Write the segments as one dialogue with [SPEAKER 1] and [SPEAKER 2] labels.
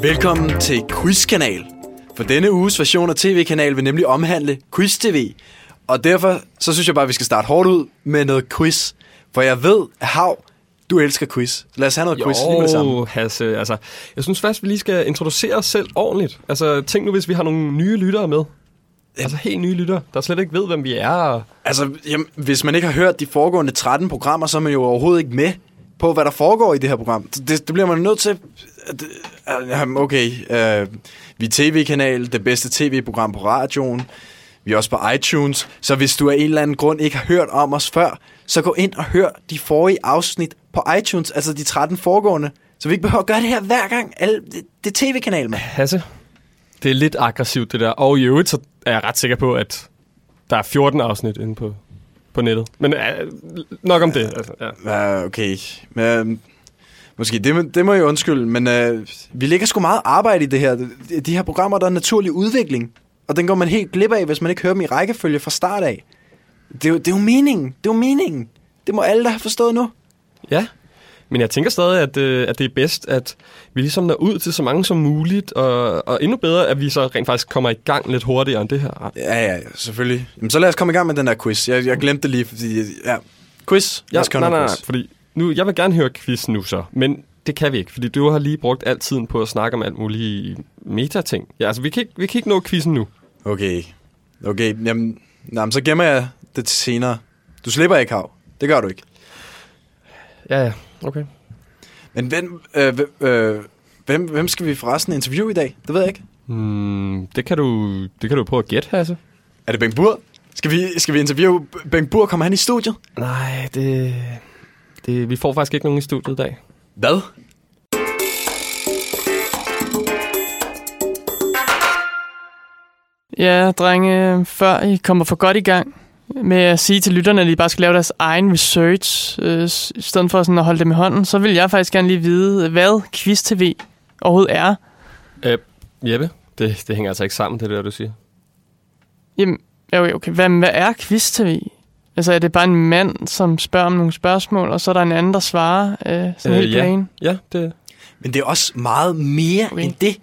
[SPEAKER 1] Velkommen til Quizkanal. For denne uges version af TV-kanal vil nemlig omhandle Quiz TV. Og derfor så synes jeg bare, at vi skal starte hårdt ud med noget quiz. For jeg ved, at Hav, du elsker quiz. Så lad os have noget quiz lige med det samme.
[SPEAKER 2] Jo, Hasse, altså, jeg synes først, vi lige skal introducere os selv ordentligt. Altså, tænk nu, hvis vi har nogle nye lyttere med. Altså, helt nye lyttere, der slet ikke ved, hvem vi er. og-
[SPEAKER 1] Altså, jamen, hvis man ikke har hørt de foregående 13 programmer, så er man jo overhovedet ikke med på, hvad der foregår i det her program. Så Det, det bliver man nødt til. at- at- jamen, Okay, øh, vi er tv-kanal, det bedste tv-program på radioen. Vi er også på iTunes. Så hvis du af en eller anden grund ikke har hørt om os før, så gå ind og hør de forrige afsnit på iTunes, altså de 13 foregående. Så vi ikke behøver at gøre det her hver gang. Alle, det, det er tv-kanal, mand.
[SPEAKER 2] Hasse, det er lidt aggressivt, det der. Og i øvrigt, så er jeg ret sikker på, at der er 14 afsnit inde på, på nettet. Men øh, nok om det. Altså, ja.
[SPEAKER 1] Ja, okay. Men, øhm, måske, det, må- det må jeg undskylde, men øh, vi lægger sgu meget arbejde i det her. De, de her programmer, der er naturlig udvikling, og den går man helt glip af, hvis man ikke hører dem i rækkefølge fra start af. Det er, jo, det er jo meningen. Det er jo meningen. Det må alle, der har forstået nu.
[SPEAKER 2] ja. Men jeg tænker stadig, at, øh, at det er bedst, at vi ligesom når ud til så mange som muligt, og, og endnu bedre, at vi så rent faktisk kommer i gang lidt hurtigere end det her.
[SPEAKER 1] Ja, ja, ja, selvfølgelig. Jamen, så lad os komme i gang med den der quiz. Jeg, jeg glemte det lige, fordi... Ja. Quiz. Lad
[SPEAKER 2] Ja,
[SPEAKER 1] os
[SPEAKER 2] nej,
[SPEAKER 1] komme
[SPEAKER 2] nej,
[SPEAKER 1] med
[SPEAKER 2] nej,
[SPEAKER 1] quiz.
[SPEAKER 2] fordi nu, jeg vil gerne høre quiz nu så, men det kan vi ikke, fordi du har lige brugt al tiden på at snakke om alt mulige metating. Ja, altså, vi kan ikke, vi kan ikke nå quizzen nu.
[SPEAKER 1] Okay. Okay, jamen, jamen, så gemmer jeg det til senere. Du slipper ikke, Hav. Det gør du ikke.
[SPEAKER 2] Ja, ja, okay.
[SPEAKER 1] Men hvem, øh, hvem, øh, hvem, hvem skal vi forresten interviewe i dag? Det ved jeg ikke.
[SPEAKER 2] Mm, det, kan du, det kan du prøve at gætte, Hasse.
[SPEAKER 1] Er det Bengt Bur? Skal vi, skal vi interviewe B- Bengt Bur? Kommer han i studiet?
[SPEAKER 2] Nej, det, det... Vi får faktisk ikke nogen i studiet i dag.
[SPEAKER 1] Hvad?
[SPEAKER 3] Ja, drenge, før I kommer for godt i gang med at sige til lytterne, at de bare skal lave deres egen research, øh, s- i stedet for sådan at holde dem i hånden, så vil jeg faktisk gerne lige vide, hvad Quiz-TV overhovedet er.
[SPEAKER 2] Øh, Jeppe, det, det hænger altså ikke sammen, det der, du siger.
[SPEAKER 3] Jamen, ja, okay, okay. Hvad, hvad er Quiz-TV? Altså, er det bare en mand, som spørger om nogle spørgsmål, og så er der en anden, der svarer øh, sådan
[SPEAKER 2] Øh,
[SPEAKER 3] øh, helt
[SPEAKER 2] ja.
[SPEAKER 3] plain?
[SPEAKER 2] Ja, det...
[SPEAKER 1] Men det er også meget mere okay.
[SPEAKER 3] Okay.
[SPEAKER 1] end det.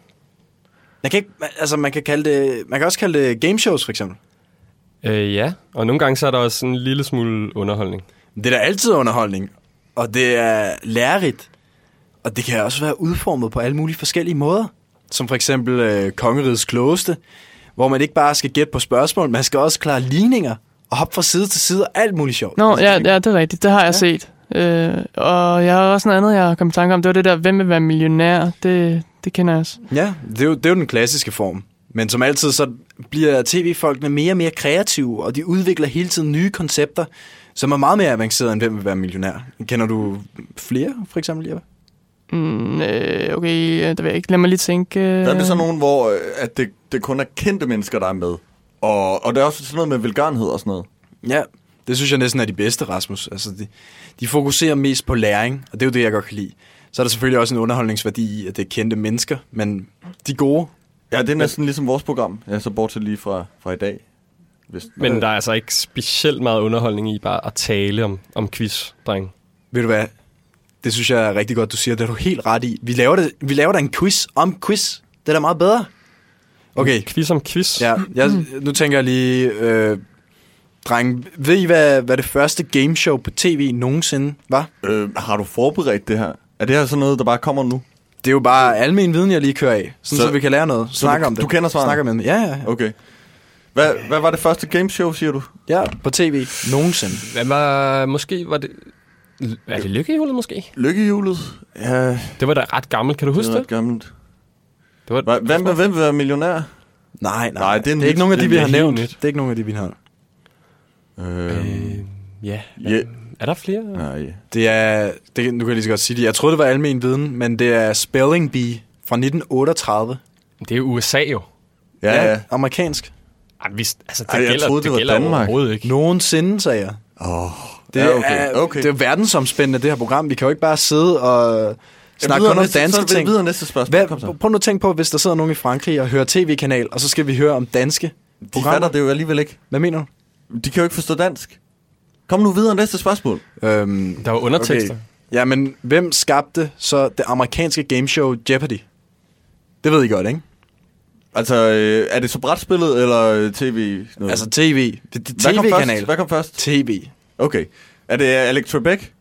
[SPEAKER 1] Man kan, ikke, man- altså man, kan kalde det, man kan også kalde det game shows, for eksempel.
[SPEAKER 2] Øh, ja, og nogle gange så er der også en lille smule underholdning.
[SPEAKER 1] Det er da altid underholdning, og det er lærerigt. Og det kan også være udformet på alle mulige forskellige måder. Som for eksempel øh, Kongerigets Klogeste, hvor man ikke bare skal gætte på spørgsmål, man skal også klare ligninger og hoppe fra side til side og alt muligt sjovt. Altså,
[SPEAKER 3] Nå, ja, ja, Altså, det er rigtigt. Det har jeg ja. set. Øh, og jeg har også noget andet, jeg kom i tanke om. Det var det der, hvem vil være millionær? Det, det kender jeg også.
[SPEAKER 1] Ja, det er, jo, det er jo den klassiske form. Men som altid, så bliver tv-folkene mere og mere kreative, og de udvikler hele tiden nye koncepter, som er meget mere avancerede, end hvem vil være millionær. Kender du flere, for eksempel, Jeppe?
[SPEAKER 3] Mm, øh, okay, øh, det ved jeg ikke. Lad mig lige tænke. Øh,
[SPEAKER 4] Der er det sådan nogen, hvor øh, at det, det kun er kendte mennesker, der er med. Og, og der er også sådan noget med velgørenhed og sådan noget.
[SPEAKER 1] Ja, det synes jeg næsten er de bedste, Rasmus. Altså, de, de fokuserer mest på læring, og det er jo det, jeg godt kan lide. Så er der selvfølgelig også en underholdningsværdi i, at det er kendte mennesker, men de gode,
[SPEAKER 4] Ja, det er næsten ligesom vores program. Ja, så bortset lige fra, fra i dag. Hvis,
[SPEAKER 2] Men der er altså ikke specielt meget underholdning i bare at tale om, om quiz, dreng.
[SPEAKER 1] ved du hvad, det synes jeg er rigtig godt, du siger, det er du helt ret i. Vi laver, det, vi laver da en quiz om quiz, det er da meget bedre. Okay,
[SPEAKER 2] Quiz om quiz.
[SPEAKER 1] Ja, jeg, nu tænker jeg lige, øh, dreng, ved I, hvad, hvad det første gameshow på tv nogensinde var?
[SPEAKER 4] øh, har du forberedt det her? Er det her sådan noget, der bare kommer nu?
[SPEAKER 1] Det er jo bare almen viden, jeg lige kører af, sådan, så,
[SPEAKER 4] Så-
[SPEAKER 1] så vi kan lære noget. Snakke
[SPEAKER 4] du-
[SPEAKER 1] om det.
[SPEAKER 4] du kender svarene?
[SPEAKER 1] Snakke om det. Ja, ja,
[SPEAKER 4] Okay. Hvad, hvad var det første gameshow, siger du?
[SPEAKER 1] ja, på tv nogensinde.
[SPEAKER 2] Hvad var, måske var det... Er det lykkehjulet måske?
[SPEAKER 4] Lykkehjulet? Ja,
[SPEAKER 2] Det var da ret gammelt, kan du
[SPEAKER 4] det
[SPEAKER 2] huske
[SPEAKER 4] er ret
[SPEAKER 2] det?
[SPEAKER 4] gammelt.
[SPEAKER 2] Det var,
[SPEAKER 4] Hva- Hvem, hvem, hvem vil være millionær?
[SPEAKER 1] Nej, nej,
[SPEAKER 4] Nej, det er
[SPEAKER 1] det er
[SPEAKER 4] nyt.
[SPEAKER 1] ikke nogen af de,
[SPEAKER 2] Det
[SPEAKER 1] vi
[SPEAKER 2] er
[SPEAKER 1] har
[SPEAKER 2] helt
[SPEAKER 1] nævnt.
[SPEAKER 2] nyt.
[SPEAKER 1] Det er ikke nogen af de, vi har
[SPEAKER 4] Øh,
[SPEAKER 2] Øh, ja.
[SPEAKER 4] ja. Ah,
[SPEAKER 2] Er der flere? Ja.
[SPEAKER 4] Nej.
[SPEAKER 1] Det er, det, nu kan jeg lige så godt sige det, jeg troede, det var almen viden, men det er Spelling Bee fra 1938.
[SPEAKER 2] Det er jo USA jo.
[SPEAKER 4] Ja, ja.
[SPEAKER 1] Amerikansk.
[SPEAKER 2] Ej, vi, altså, det
[SPEAKER 4] Ej, jeg
[SPEAKER 2] gælder,
[SPEAKER 4] troede, det var
[SPEAKER 2] gælder
[SPEAKER 4] Danmark.
[SPEAKER 2] overhovedet ikke.
[SPEAKER 1] Nogensinde, sagde jeg.
[SPEAKER 4] Åh.
[SPEAKER 1] Det,
[SPEAKER 4] ja, okay.
[SPEAKER 1] er,
[SPEAKER 4] okay.
[SPEAKER 1] det er jo verdensomspændende, det her program. Vi kan jo ikke bare sidde og snakke
[SPEAKER 4] videre
[SPEAKER 1] kun om
[SPEAKER 4] næste-
[SPEAKER 1] danske
[SPEAKER 4] så
[SPEAKER 1] ting.
[SPEAKER 4] videre næste spørgsmål.
[SPEAKER 1] Hvad,
[SPEAKER 4] Kom så.
[SPEAKER 1] prøv nu at tænke på, hvis der sidder nogen i Frankrig og hører tv-kanal, og så skal vi høre om danske
[SPEAKER 4] De
[SPEAKER 1] programmer.
[SPEAKER 4] fatter det jo alligevel ikke.
[SPEAKER 1] Hvad mener du?
[SPEAKER 4] De kan jo ikke forstå dansk. Kom nu videre næste spørgsmål.
[SPEAKER 1] Øhm,
[SPEAKER 2] Der var undertekster.
[SPEAKER 1] Ja, men hvem skabte så det amerikanske gameshow Jeopardy? Det ved I godt, ikke?
[SPEAKER 4] Altså, øh, er det så brætspillet eller øh, tv? Noget?
[SPEAKER 1] Altså tv. Det, det
[SPEAKER 4] Hvad kom først?
[SPEAKER 1] tv-kanal.
[SPEAKER 4] Hvad kom først?
[SPEAKER 1] TV.
[SPEAKER 4] Okay. Er det øh, Alex Trebek?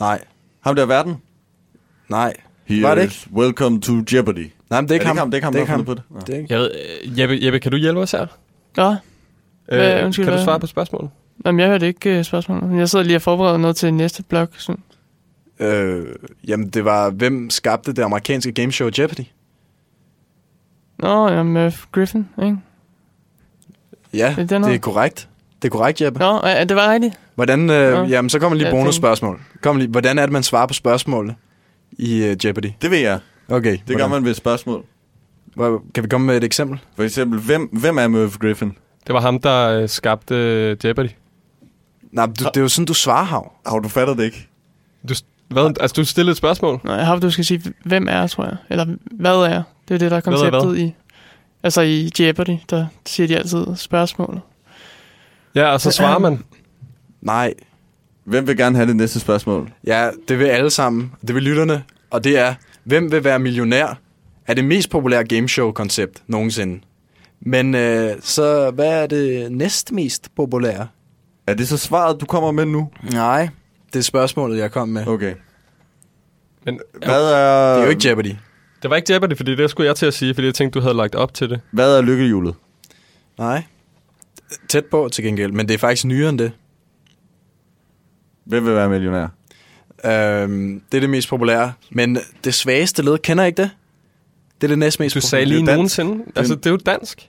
[SPEAKER 1] Nej.
[SPEAKER 4] Ham der er verden?
[SPEAKER 1] Nej.
[SPEAKER 4] He
[SPEAKER 1] Var det
[SPEAKER 4] is Welcome to Jeopardy.
[SPEAKER 1] Nej, men det er ikke ham.
[SPEAKER 4] Det er ikke ham, det er ikke ham, der har fundet på det.
[SPEAKER 1] Det er ikke.
[SPEAKER 2] Jeg ved, øh, Jeppe, Jeppe, kan du hjælpe os her?
[SPEAKER 3] Nå, Hvad-
[SPEAKER 2] Øh,
[SPEAKER 3] undskyld,
[SPEAKER 2] kan du
[SPEAKER 3] hvad?
[SPEAKER 2] svare på spørgsmålet?
[SPEAKER 3] jamen, jeg hørte ikke øh, spørgsmålet. men Jeg sidder lige og forbereder noget til næste blog. Så.
[SPEAKER 1] Øh, jamen, det var, hvem skabte det amerikanske gameshow Jeopardy?
[SPEAKER 3] Nå, jamen, øh, Griffin, ikke?
[SPEAKER 1] Ja,
[SPEAKER 3] den
[SPEAKER 1] det er
[SPEAKER 3] her?
[SPEAKER 1] korrekt. Det er korrekt, Jeppe.
[SPEAKER 3] Nå, øh, det var rigtigt.
[SPEAKER 1] Hvordan,
[SPEAKER 3] Nå.
[SPEAKER 1] øh, jamen, så kommer lige
[SPEAKER 3] Jeg
[SPEAKER 1] bonusspørgsmål. Kom lige, hvordan er det, man svarer på spørgsmålene i øh, Jeopardy?
[SPEAKER 4] Det ved jeg.
[SPEAKER 1] Okay.
[SPEAKER 4] Det gør man ved et spørgsmål.
[SPEAKER 1] man. Kan vi komme med et eksempel?
[SPEAKER 4] For eksempel, hvem, hvem er Merv Griffin?
[SPEAKER 2] Det var ham, der øh, skabte øh, Jeopardy.
[SPEAKER 1] Nej, du, det er jo sådan, du svarer, Hav.
[SPEAKER 4] Har du fatter det ikke?
[SPEAKER 2] Du, s- hvad, altså, du stillede et spørgsmål.
[SPEAKER 3] Nå, jeg har du skal sige, hvem er, tror jeg. Eller hvad er. Det er det, der er
[SPEAKER 2] Hvad er hvad?
[SPEAKER 3] konceptet i... Altså i Jeopardy, der siger de altid spørgsmål.
[SPEAKER 2] Ja, og så svarer man.
[SPEAKER 1] Nej.
[SPEAKER 4] Hvem vil gerne have det næste spørgsmål?
[SPEAKER 1] Ja, det vil alle sammen. Det vil lytterne. Og det er, hvem vil være millionær? Er det mest populære gameshow-koncept nogensinde. Men øh, så, hvad er det næstmest populære?
[SPEAKER 4] Er det så svaret, du kommer med nu?
[SPEAKER 1] Nej. Det er spørgsmålet, jeg kom med.
[SPEAKER 4] Okay.
[SPEAKER 2] Men
[SPEAKER 4] Hvad er,
[SPEAKER 1] Det er jo ikke Jeopardy.
[SPEAKER 2] det var ikke Jeopardy, fordi det skulle jeg til at sige, fordi jeg tænkte, du havde lagt op til det.
[SPEAKER 4] hvad er lykkehjulet?
[SPEAKER 1] Nej. Tæt på til gengæld, men det er faktisk nyere end det.
[SPEAKER 4] Hvem vil være millionær?
[SPEAKER 1] Øhm, det er det mest populære. Men det svageste led, kender I ikke det? Det er det næstmest
[SPEAKER 2] Du sagde
[SPEAKER 1] populære.
[SPEAKER 2] lige
[SPEAKER 4] dansk.
[SPEAKER 2] nogensinde. Altså, det er jo dansk.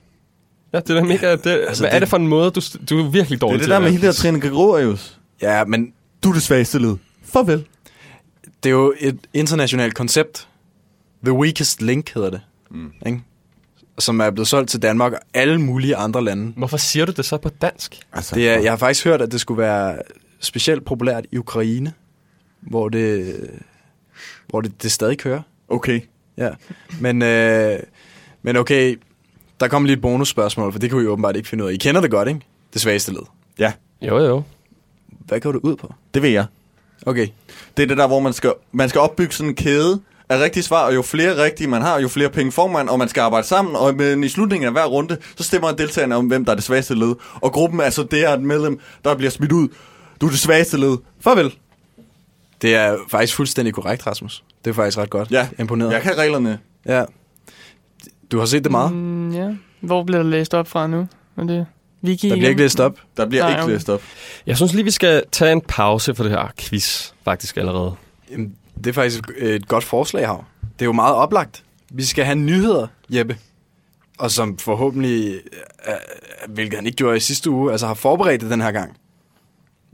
[SPEAKER 2] Ja, det er da mega... Det, altså, hvad
[SPEAKER 1] det-
[SPEAKER 2] er det for en måde, du, s- du er virkelig
[SPEAKER 4] Det er
[SPEAKER 2] dårlig
[SPEAKER 4] det
[SPEAKER 2] til
[SPEAKER 4] der med
[SPEAKER 2] at-
[SPEAKER 4] hele der Trine Gregorius.
[SPEAKER 1] Ja, men
[SPEAKER 4] Du er det svageste led. Farvel.
[SPEAKER 1] det er jo et internationalt koncept. The Weakest Link hedder det. Mm. Ikke? Som er blevet solgt til Danmark og alle mulige andre lande.
[SPEAKER 2] Hvorfor siger du det så på dansk?
[SPEAKER 4] Altså,
[SPEAKER 1] Det er, jeg har faktisk hørt, at det skulle være specielt populært i Ukraine, hvor det, hvor det, det stadig kører.
[SPEAKER 4] Okay.
[SPEAKER 1] Ja, men, øh, men okay, der kom lige et bonusspørgsmål, for det kunne I åbenbart ikke finde ud af. I kender det godt, ikke? Det svageste led.
[SPEAKER 4] Ja,
[SPEAKER 2] Jo, jo.
[SPEAKER 1] Hvad går du ud på?
[SPEAKER 4] det ved jeg.
[SPEAKER 1] Okay,
[SPEAKER 4] Det er det der, hvor man skal, man skal opbygge sådan en kæde af rigtige svar, og jo flere rigtige man har, jo flere penge får man, og man skal arbejde sammen, og men i slutningen af hver runde, så stemmer deltagerne om, hvem der er det svageste led. Og gruppen er så det er et medlem, der bliver smidt ud. Du er det svageste led. Farvel.
[SPEAKER 1] det er faktisk fuldstændig korrekt, Rasmus. Det er faktisk ret godt.
[SPEAKER 4] Ja,
[SPEAKER 1] Imponeret.
[SPEAKER 4] Jeg kan reglerne.
[SPEAKER 1] Ja. Du har set det meget. Mm,
[SPEAKER 3] Mm, ja. Hvor bliver der læst op fra nu? Er det Vicky
[SPEAKER 1] der bliver ikke læst op.
[SPEAKER 4] Der bliver
[SPEAKER 3] Nej,
[SPEAKER 4] ikke
[SPEAKER 3] okay.
[SPEAKER 4] læst op.
[SPEAKER 2] Jeg synes lige, vi skal tage en pause for det her quiz, faktisk allerede.
[SPEAKER 1] Jamen, det er faktisk et godt forslag, Hav. Det er jo meget oplagt. Vi skal have nyheder, Jeppe. Og som forhåbentlig, øh, hvilket han ikke gjorde i sidste uge, altså har forberedt det den her gang.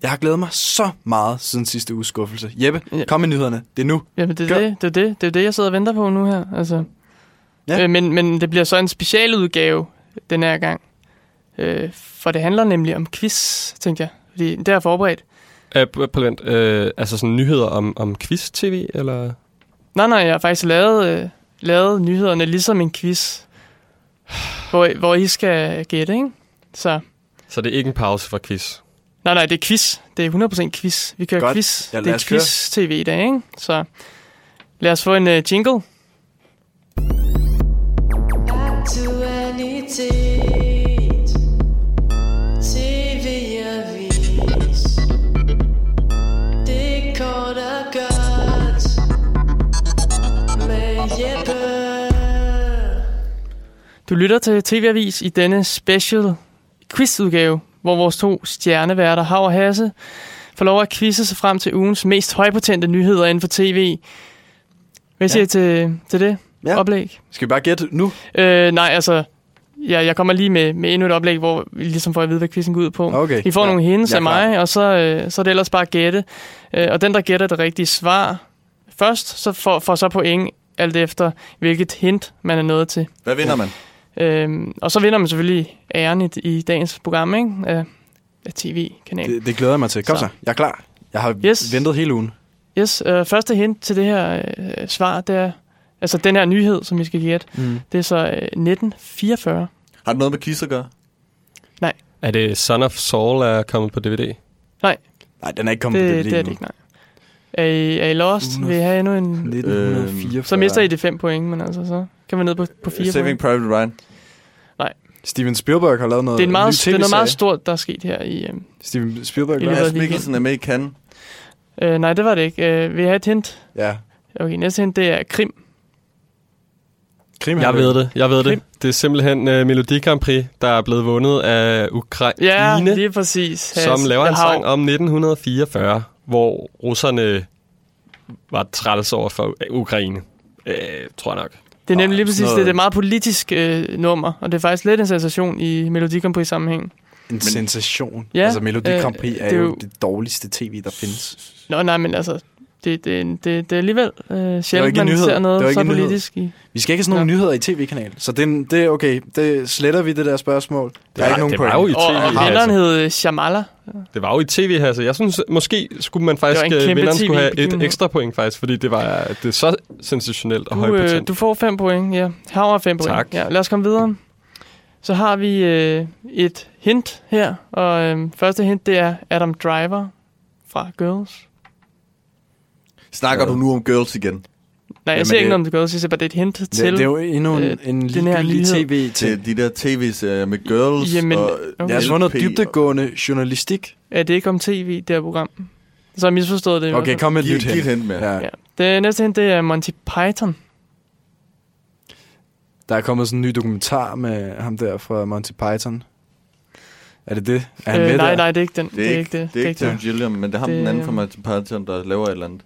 [SPEAKER 1] Jeg har glædet mig så meget siden sidste uges skuffelse. Jeppe,
[SPEAKER 3] Ja.
[SPEAKER 1] kom med nyhederne. Det er nu.
[SPEAKER 3] Jamen, det
[SPEAKER 1] Gør-
[SPEAKER 3] er det. Det er det. Det er det, jeg sidder og venter på nu her. Altså.
[SPEAKER 1] Ja.
[SPEAKER 3] Ja. Øh, men, men det bliver så en specialudgave den her gang. Øh, for det handler nemlig om quiz, tænker jeg. Fordi det har jeg forberedt.
[SPEAKER 2] Øh, p- på vent, øh, altså sådan nyheder om, om quiz-tv, eller?
[SPEAKER 3] Nej, nej, jeg har faktisk lavet, øh, lavet nyhederne ligesom en quiz. Hvor, hvor I skal gætte, ikke? Så,
[SPEAKER 2] Så det er ikke en pause for quiz.
[SPEAKER 3] nej, nej, det er quiz. Det er 100% quiz. Vi kører
[SPEAKER 1] Godt.
[SPEAKER 3] quiz.
[SPEAKER 1] Ja, lad
[SPEAKER 3] det er
[SPEAKER 1] os køre.
[SPEAKER 3] quiz-tv i dag, ikke? Så lad os få en øh, jingle.
[SPEAKER 5] Aktualitet. TV-avis. Det er kort og godt. Med Jeppe.
[SPEAKER 3] Du lytter til TV-avis i denne special quizudgave, hvor vores to stjerneværter, Hav og Hasse, får lov at quizze sig frem til ugens mest højpotente nyheder inden for tv. Hvad siger ja. I til, til det
[SPEAKER 1] Ja.
[SPEAKER 3] ja. oplæg?
[SPEAKER 1] Skal vi bare gætte nu?
[SPEAKER 3] Øh, nej, altså, ja, jeg kommer lige med, med endnu et oplæg, hvor vi ligesom får at vide, hvad quizzen går ud på.
[SPEAKER 1] Okay.
[SPEAKER 3] I får
[SPEAKER 1] Ja.
[SPEAKER 3] ja. nogle hints
[SPEAKER 1] Jeg er
[SPEAKER 3] af mig, og så, øh, så er det ellers bare at gætte. Øh, og den, der gætter det rigtige svar først, så får, får så point alt efter, hvilket hint man er nået til.
[SPEAKER 4] Hvad vinder man?
[SPEAKER 3] Øhm, og så vinder man selvfølgelig æren i, i dagens program, ikke? Af, af tv-kanalen.
[SPEAKER 1] Det, det glæder jeg mig til. Kom så.
[SPEAKER 3] Så.
[SPEAKER 1] så. Jeg er klar. Jeg har yes.
[SPEAKER 3] Yes.
[SPEAKER 1] ventet hele ugen.
[SPEAKER 3] Yes, øh, første hint til det her øh, svar, det er, altså den her nyhed, som vi skal gætte,
[SPEAKER 1] Mm.
[SPEAKER 3] det er så øh, 1944.
[SPEAKER 4] Har det noget med Kiss at gøre?
[SPEAKER 2] Er det Son of Saul er kommet på DVD?
[SPEAKER 1] Nej, den er ikke kommet
[SPEAKER 3] Det,
[SPEAKER 1] på
[SPEAKER 3] det,
[SPEAKER 1] DVD
[SPEAKER 3] det er det
[SPEAKER 1] endnu.
[SPEAKER 3] ikke, nej. Er I, er I lost? Vil I have endnu en...
[SPEAKER 1] 1944.
[SPEAKER 3] Øhm, Så mister I de fem point, men altså så... kan man ned på, på fire
[SPEAKER 4] Saving
[SPEAKER 3] point.
[SPEAKER 4] Private Ryan.
[SPEAKER 1] Steven Spielberg har lavet noget
[SPEAKER 3] Det er, en meget,
[SPEAKER 1] ny
[SPEAKER 3] det er noget meget
[SPEAKER 1] tv-serie.
[SPEAKER 3] stort, der er sket her i... Øh,
[SPEAKER 1] Steven Spielberg
[SPEAKER 3] I
[SPEAKER 1] gør
[SPEAKER 3] løbet af
[SPEAKER 4] Mads
[SPEAKER 3] weekenden.
[SPEAKER 4] Mikkelsen er med i Cannes.
[SPEAKER 3] øh, nej, det var det ikke. Øh, vil jeg have et hint?
[SPEAKER 1] Ja.
[SPEAKER 3] Okay, næste hint, det er Krim.
[SPEAKER 1] Krim,
[SPEAKER 2] Jeg ved det, jeg ved
[SPEAKER 3] Krim.
[SPEAKER 2] det. Det er simpelthen uh, Melodi Grand Prix, der er blevet vundet af Ukraine,
[SPEAKER 3] Ja, lige præcis. Has-
[SPEAKER 2] som laver en
[SPEAKER 3] jeg har
[SPEAKER 2] sang om 1944, hvor russerne var træls over for øh, Ukraine. Øh, tror jeg nok.
[SPEAKER 3] Det er nemlig
[SPEAKER 1] Og
[SPEAKER 3] lige præcis
[SPEAKER 1] sådan
[SPEAKER 3] det. Det er
[SPEAKER 1] noget-
[SPEAKER 3] meget politisk øh, nummer, og det er faktisk lidt en sensation i Melodi Grand Prix sammenhæng.
[SPEAKER 1] En sensation.
[SPEAKER 3] Ja,
[SPEAKER 1] Ja, altså, Melodi
[SPEAKER 3] øh,
[SPEAKER 1] Grand Prix er,
[SPEAKER 3] det er
[SPEAKER 1] jo
[SPEAKER 3] jo-
[SPEAKER 1] det dårligste tv, der findes.
[SPEAKER 3] Nå, nej, men altså, det, det, det, det er alligevel øh, sjældent,
[SPEAKER 1] ikke en
[SPEAKER 3] man
[SPEAKER 1] nyhed.
[SPEAKER 3] ser
[SPEAKER 1] Det var
[SPEAKER 3] noget
[SPEAKER 1] ikke
[SPEAKER 3] så
[SPEAKER 1] en nyhed.
[SPEAKER 3] politisk i.
[SPEAKER 1] Vi skal ikke have sådan nogle nyheder i tv-kanal. Så det, er en- det er okay. Det sletter vi det der spørgsmål. Der er
[SPEAKER 2] var-
[SPEAKER 1] ikke nogen
[SPEAKER 2] det var
[SPEAKER 1] point.
[SPEAKER 2] jo i
[SPEAKER 3] Og,
[SPEAKER 2] TV,
[SPEAKER 3] og vinderen
[SPEAKER 1] Altså.
[SPEAKER 3] hed øh, Shamala.
[SPEAKER 2] Det var jo i tv her, så jeg synes, måske skulle man faktisk,
[SPEAKER 3] Det var en
[SPEAKER 2] øh,
[SPEAKER 3] kæmpe
[SPEAKER 2] vinderen skulle have et
[SPEAKER 3] TV-begivenhed.
[SPEAKER 2] ekstra point faktisk, fordi det var det er så sensationelt og
[SPEAKER 3] Du, øh,
[SPEAKER 2] højpotent.
[SPEAKER 3] du får fem point, ja. Havre fem point.
[SPEAKER 2] Tak.
[SPEAKER 3] Ja, lad os komme videre. Så har vi øh, et hint her, og øh, første hint, det er Adam Driver fra Girls.
[SPEAKER 4] Snakker
[SPEAKER 1] Ja.
[SPEAKER 4] du nu om Girls igen?
[SPEAKER 3] Nej, jeg
[SPEAKER 1] Jamen,
[SPEAKER 3] ser ikke
[SPEAKER 1] det-
[SPEAKER 3] noget om The Girls, jeg siger bare, det er et hint
[SPEAKER 1] Det,
[SPEAKER 3] til...
[SPEAKER 1] det er jo endnu en,
[SPEAKER 3] øh,
[SPEAKER 1] en
[SPEAKER 3] den her
[SPEAKER 1] ligegyldig
[SPEAKER 3] nyhed.
[SPEAKER 1] tv-ting.
[SPEAKER 4] Til de der tv's uh, med Girls
[SPEAKER 3] Jamen,
[SPEAKER 4] og
[SPEAKER 3] okay.
[SPEAKER 1] Jeg har fundet
[SPEAKER 4] LP og-
[SPEAKER 1] dybdegående journalistik.
[SPEAKER 3] Ja, det er ikke om tv, det her program. Så har jeg misforstået det. i
[SPEAKER 1] Okay,
[SPEAKER 3] hvert fald.
[SPEAKER 1] kom med et
[SPEAKER 4] Giv,
[SPEAKER 1] nyt
[SPEAKER 4] giv et
[SPEAKER 1] hint.
[SPEAKER 4] hint med. Ja.
[SPEAKER 1] Ja.
[SPEAKER 3] Ja. Det næste hint, det er Monty Python.
[SPEAKER 1] Der er kommet sådan en ny dokumentar med ham der fra Monty Python. Er det det? Er han
[SPEAKER 3] Øh,
[SPEAKER 1] med
[SPEAKER 3] nej,
[SPEAKER 1] der?
[SPEAKER 3] nej, det er ikke den.
[SPEAKER 4] Det er, ikke, det,
[SPEAKER 3] Det er ikke
[SPEAKER 4] Terry
[SPEAKER 3] det.
[SPEAKER 4] Gilliam, men det er ham
[SPEAKER 3] Det-
[SPEAKER 4] den anden fra Martin Patton, der laver et eller andet.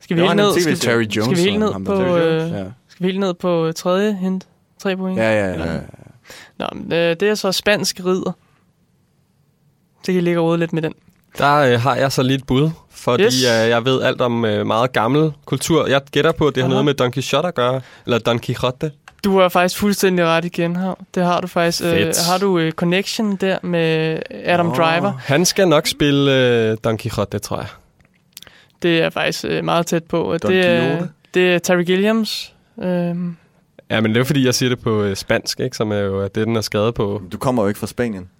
[SPEAKER 3] Skal vi
[SPEAKER 4] Det var
[SPEAKER 3] helt
[SPEAKER 4] en
[SPEAKER 3] ned?
[SPEAKER 4] TV-serie.
[SPEAKER 3] Skal,
[SPEAKER 4] Terry
[SPEAKER 1] Terry Jones.
[SPEAKER 3] skal vi helt
[SPEAKER 1] eller
[SPEAKER 3] ned
[SPEAKER 1] ham der.
[SPEAKER 3] på,
[SPEAKER 4] Terry
[SPEAKER 3] øh,
[SPEAKER 4] Jones?
[SPEAKER 1] Ja.
[SPEAKER 3] skal vi helt ned på øh, tredje hint? Tre point.
[SPEAKER 1] Ja, ja, ja.
[SPEAKER 4] Ja.
[SPEAKER 1] ja.
[SPEAKER 3] Nå, men, øh, det er så spansk ridder. Så kan I ligge og rode lidt med den.
[SPEAKER 2] Der øh, har jeg så lige et bud, fordi
[SPEAKER 3] Yes.
[SPEAKER 2] yes. øh, jeg ved alt om øh, meget gammel kultur. Jeg gætter på, at det har
[SPEAKER 3] Aha.
[SPEAKER 2] noget med Don Quixote at gøre, eller Don Quixote.
[SPEAKER 3] Du har faktisk fuldstændig ret igen her. Det har du faktisk. Øh,
[SPEAKER 2] Fedt.
[SPEAKER 3] har du øh, connection der med Adam
[SPEAKER 1] Åh.
[SPEAKER 3] oh. Driver?
[SPEAKER 2] Han skal nok spille øh, Don Quixote, tror jeg.
[SPEAKER 3] Det er faktisk øh, meget tæt på. Og
[SPEAKER 4] Don
[SPEAKER 3] det, er,
[SPEAKER 4] Quixote?
[SPEAKER 3] det er Terry Gilliams. Øh,
[SPEAKER 2] Ja, men det er jo fordi, jeg siger det på øh, spansk, ikke? som er jo det, den er skrevet på.
[SPEAKER 4] Du kommer jo ikke fra Spanien.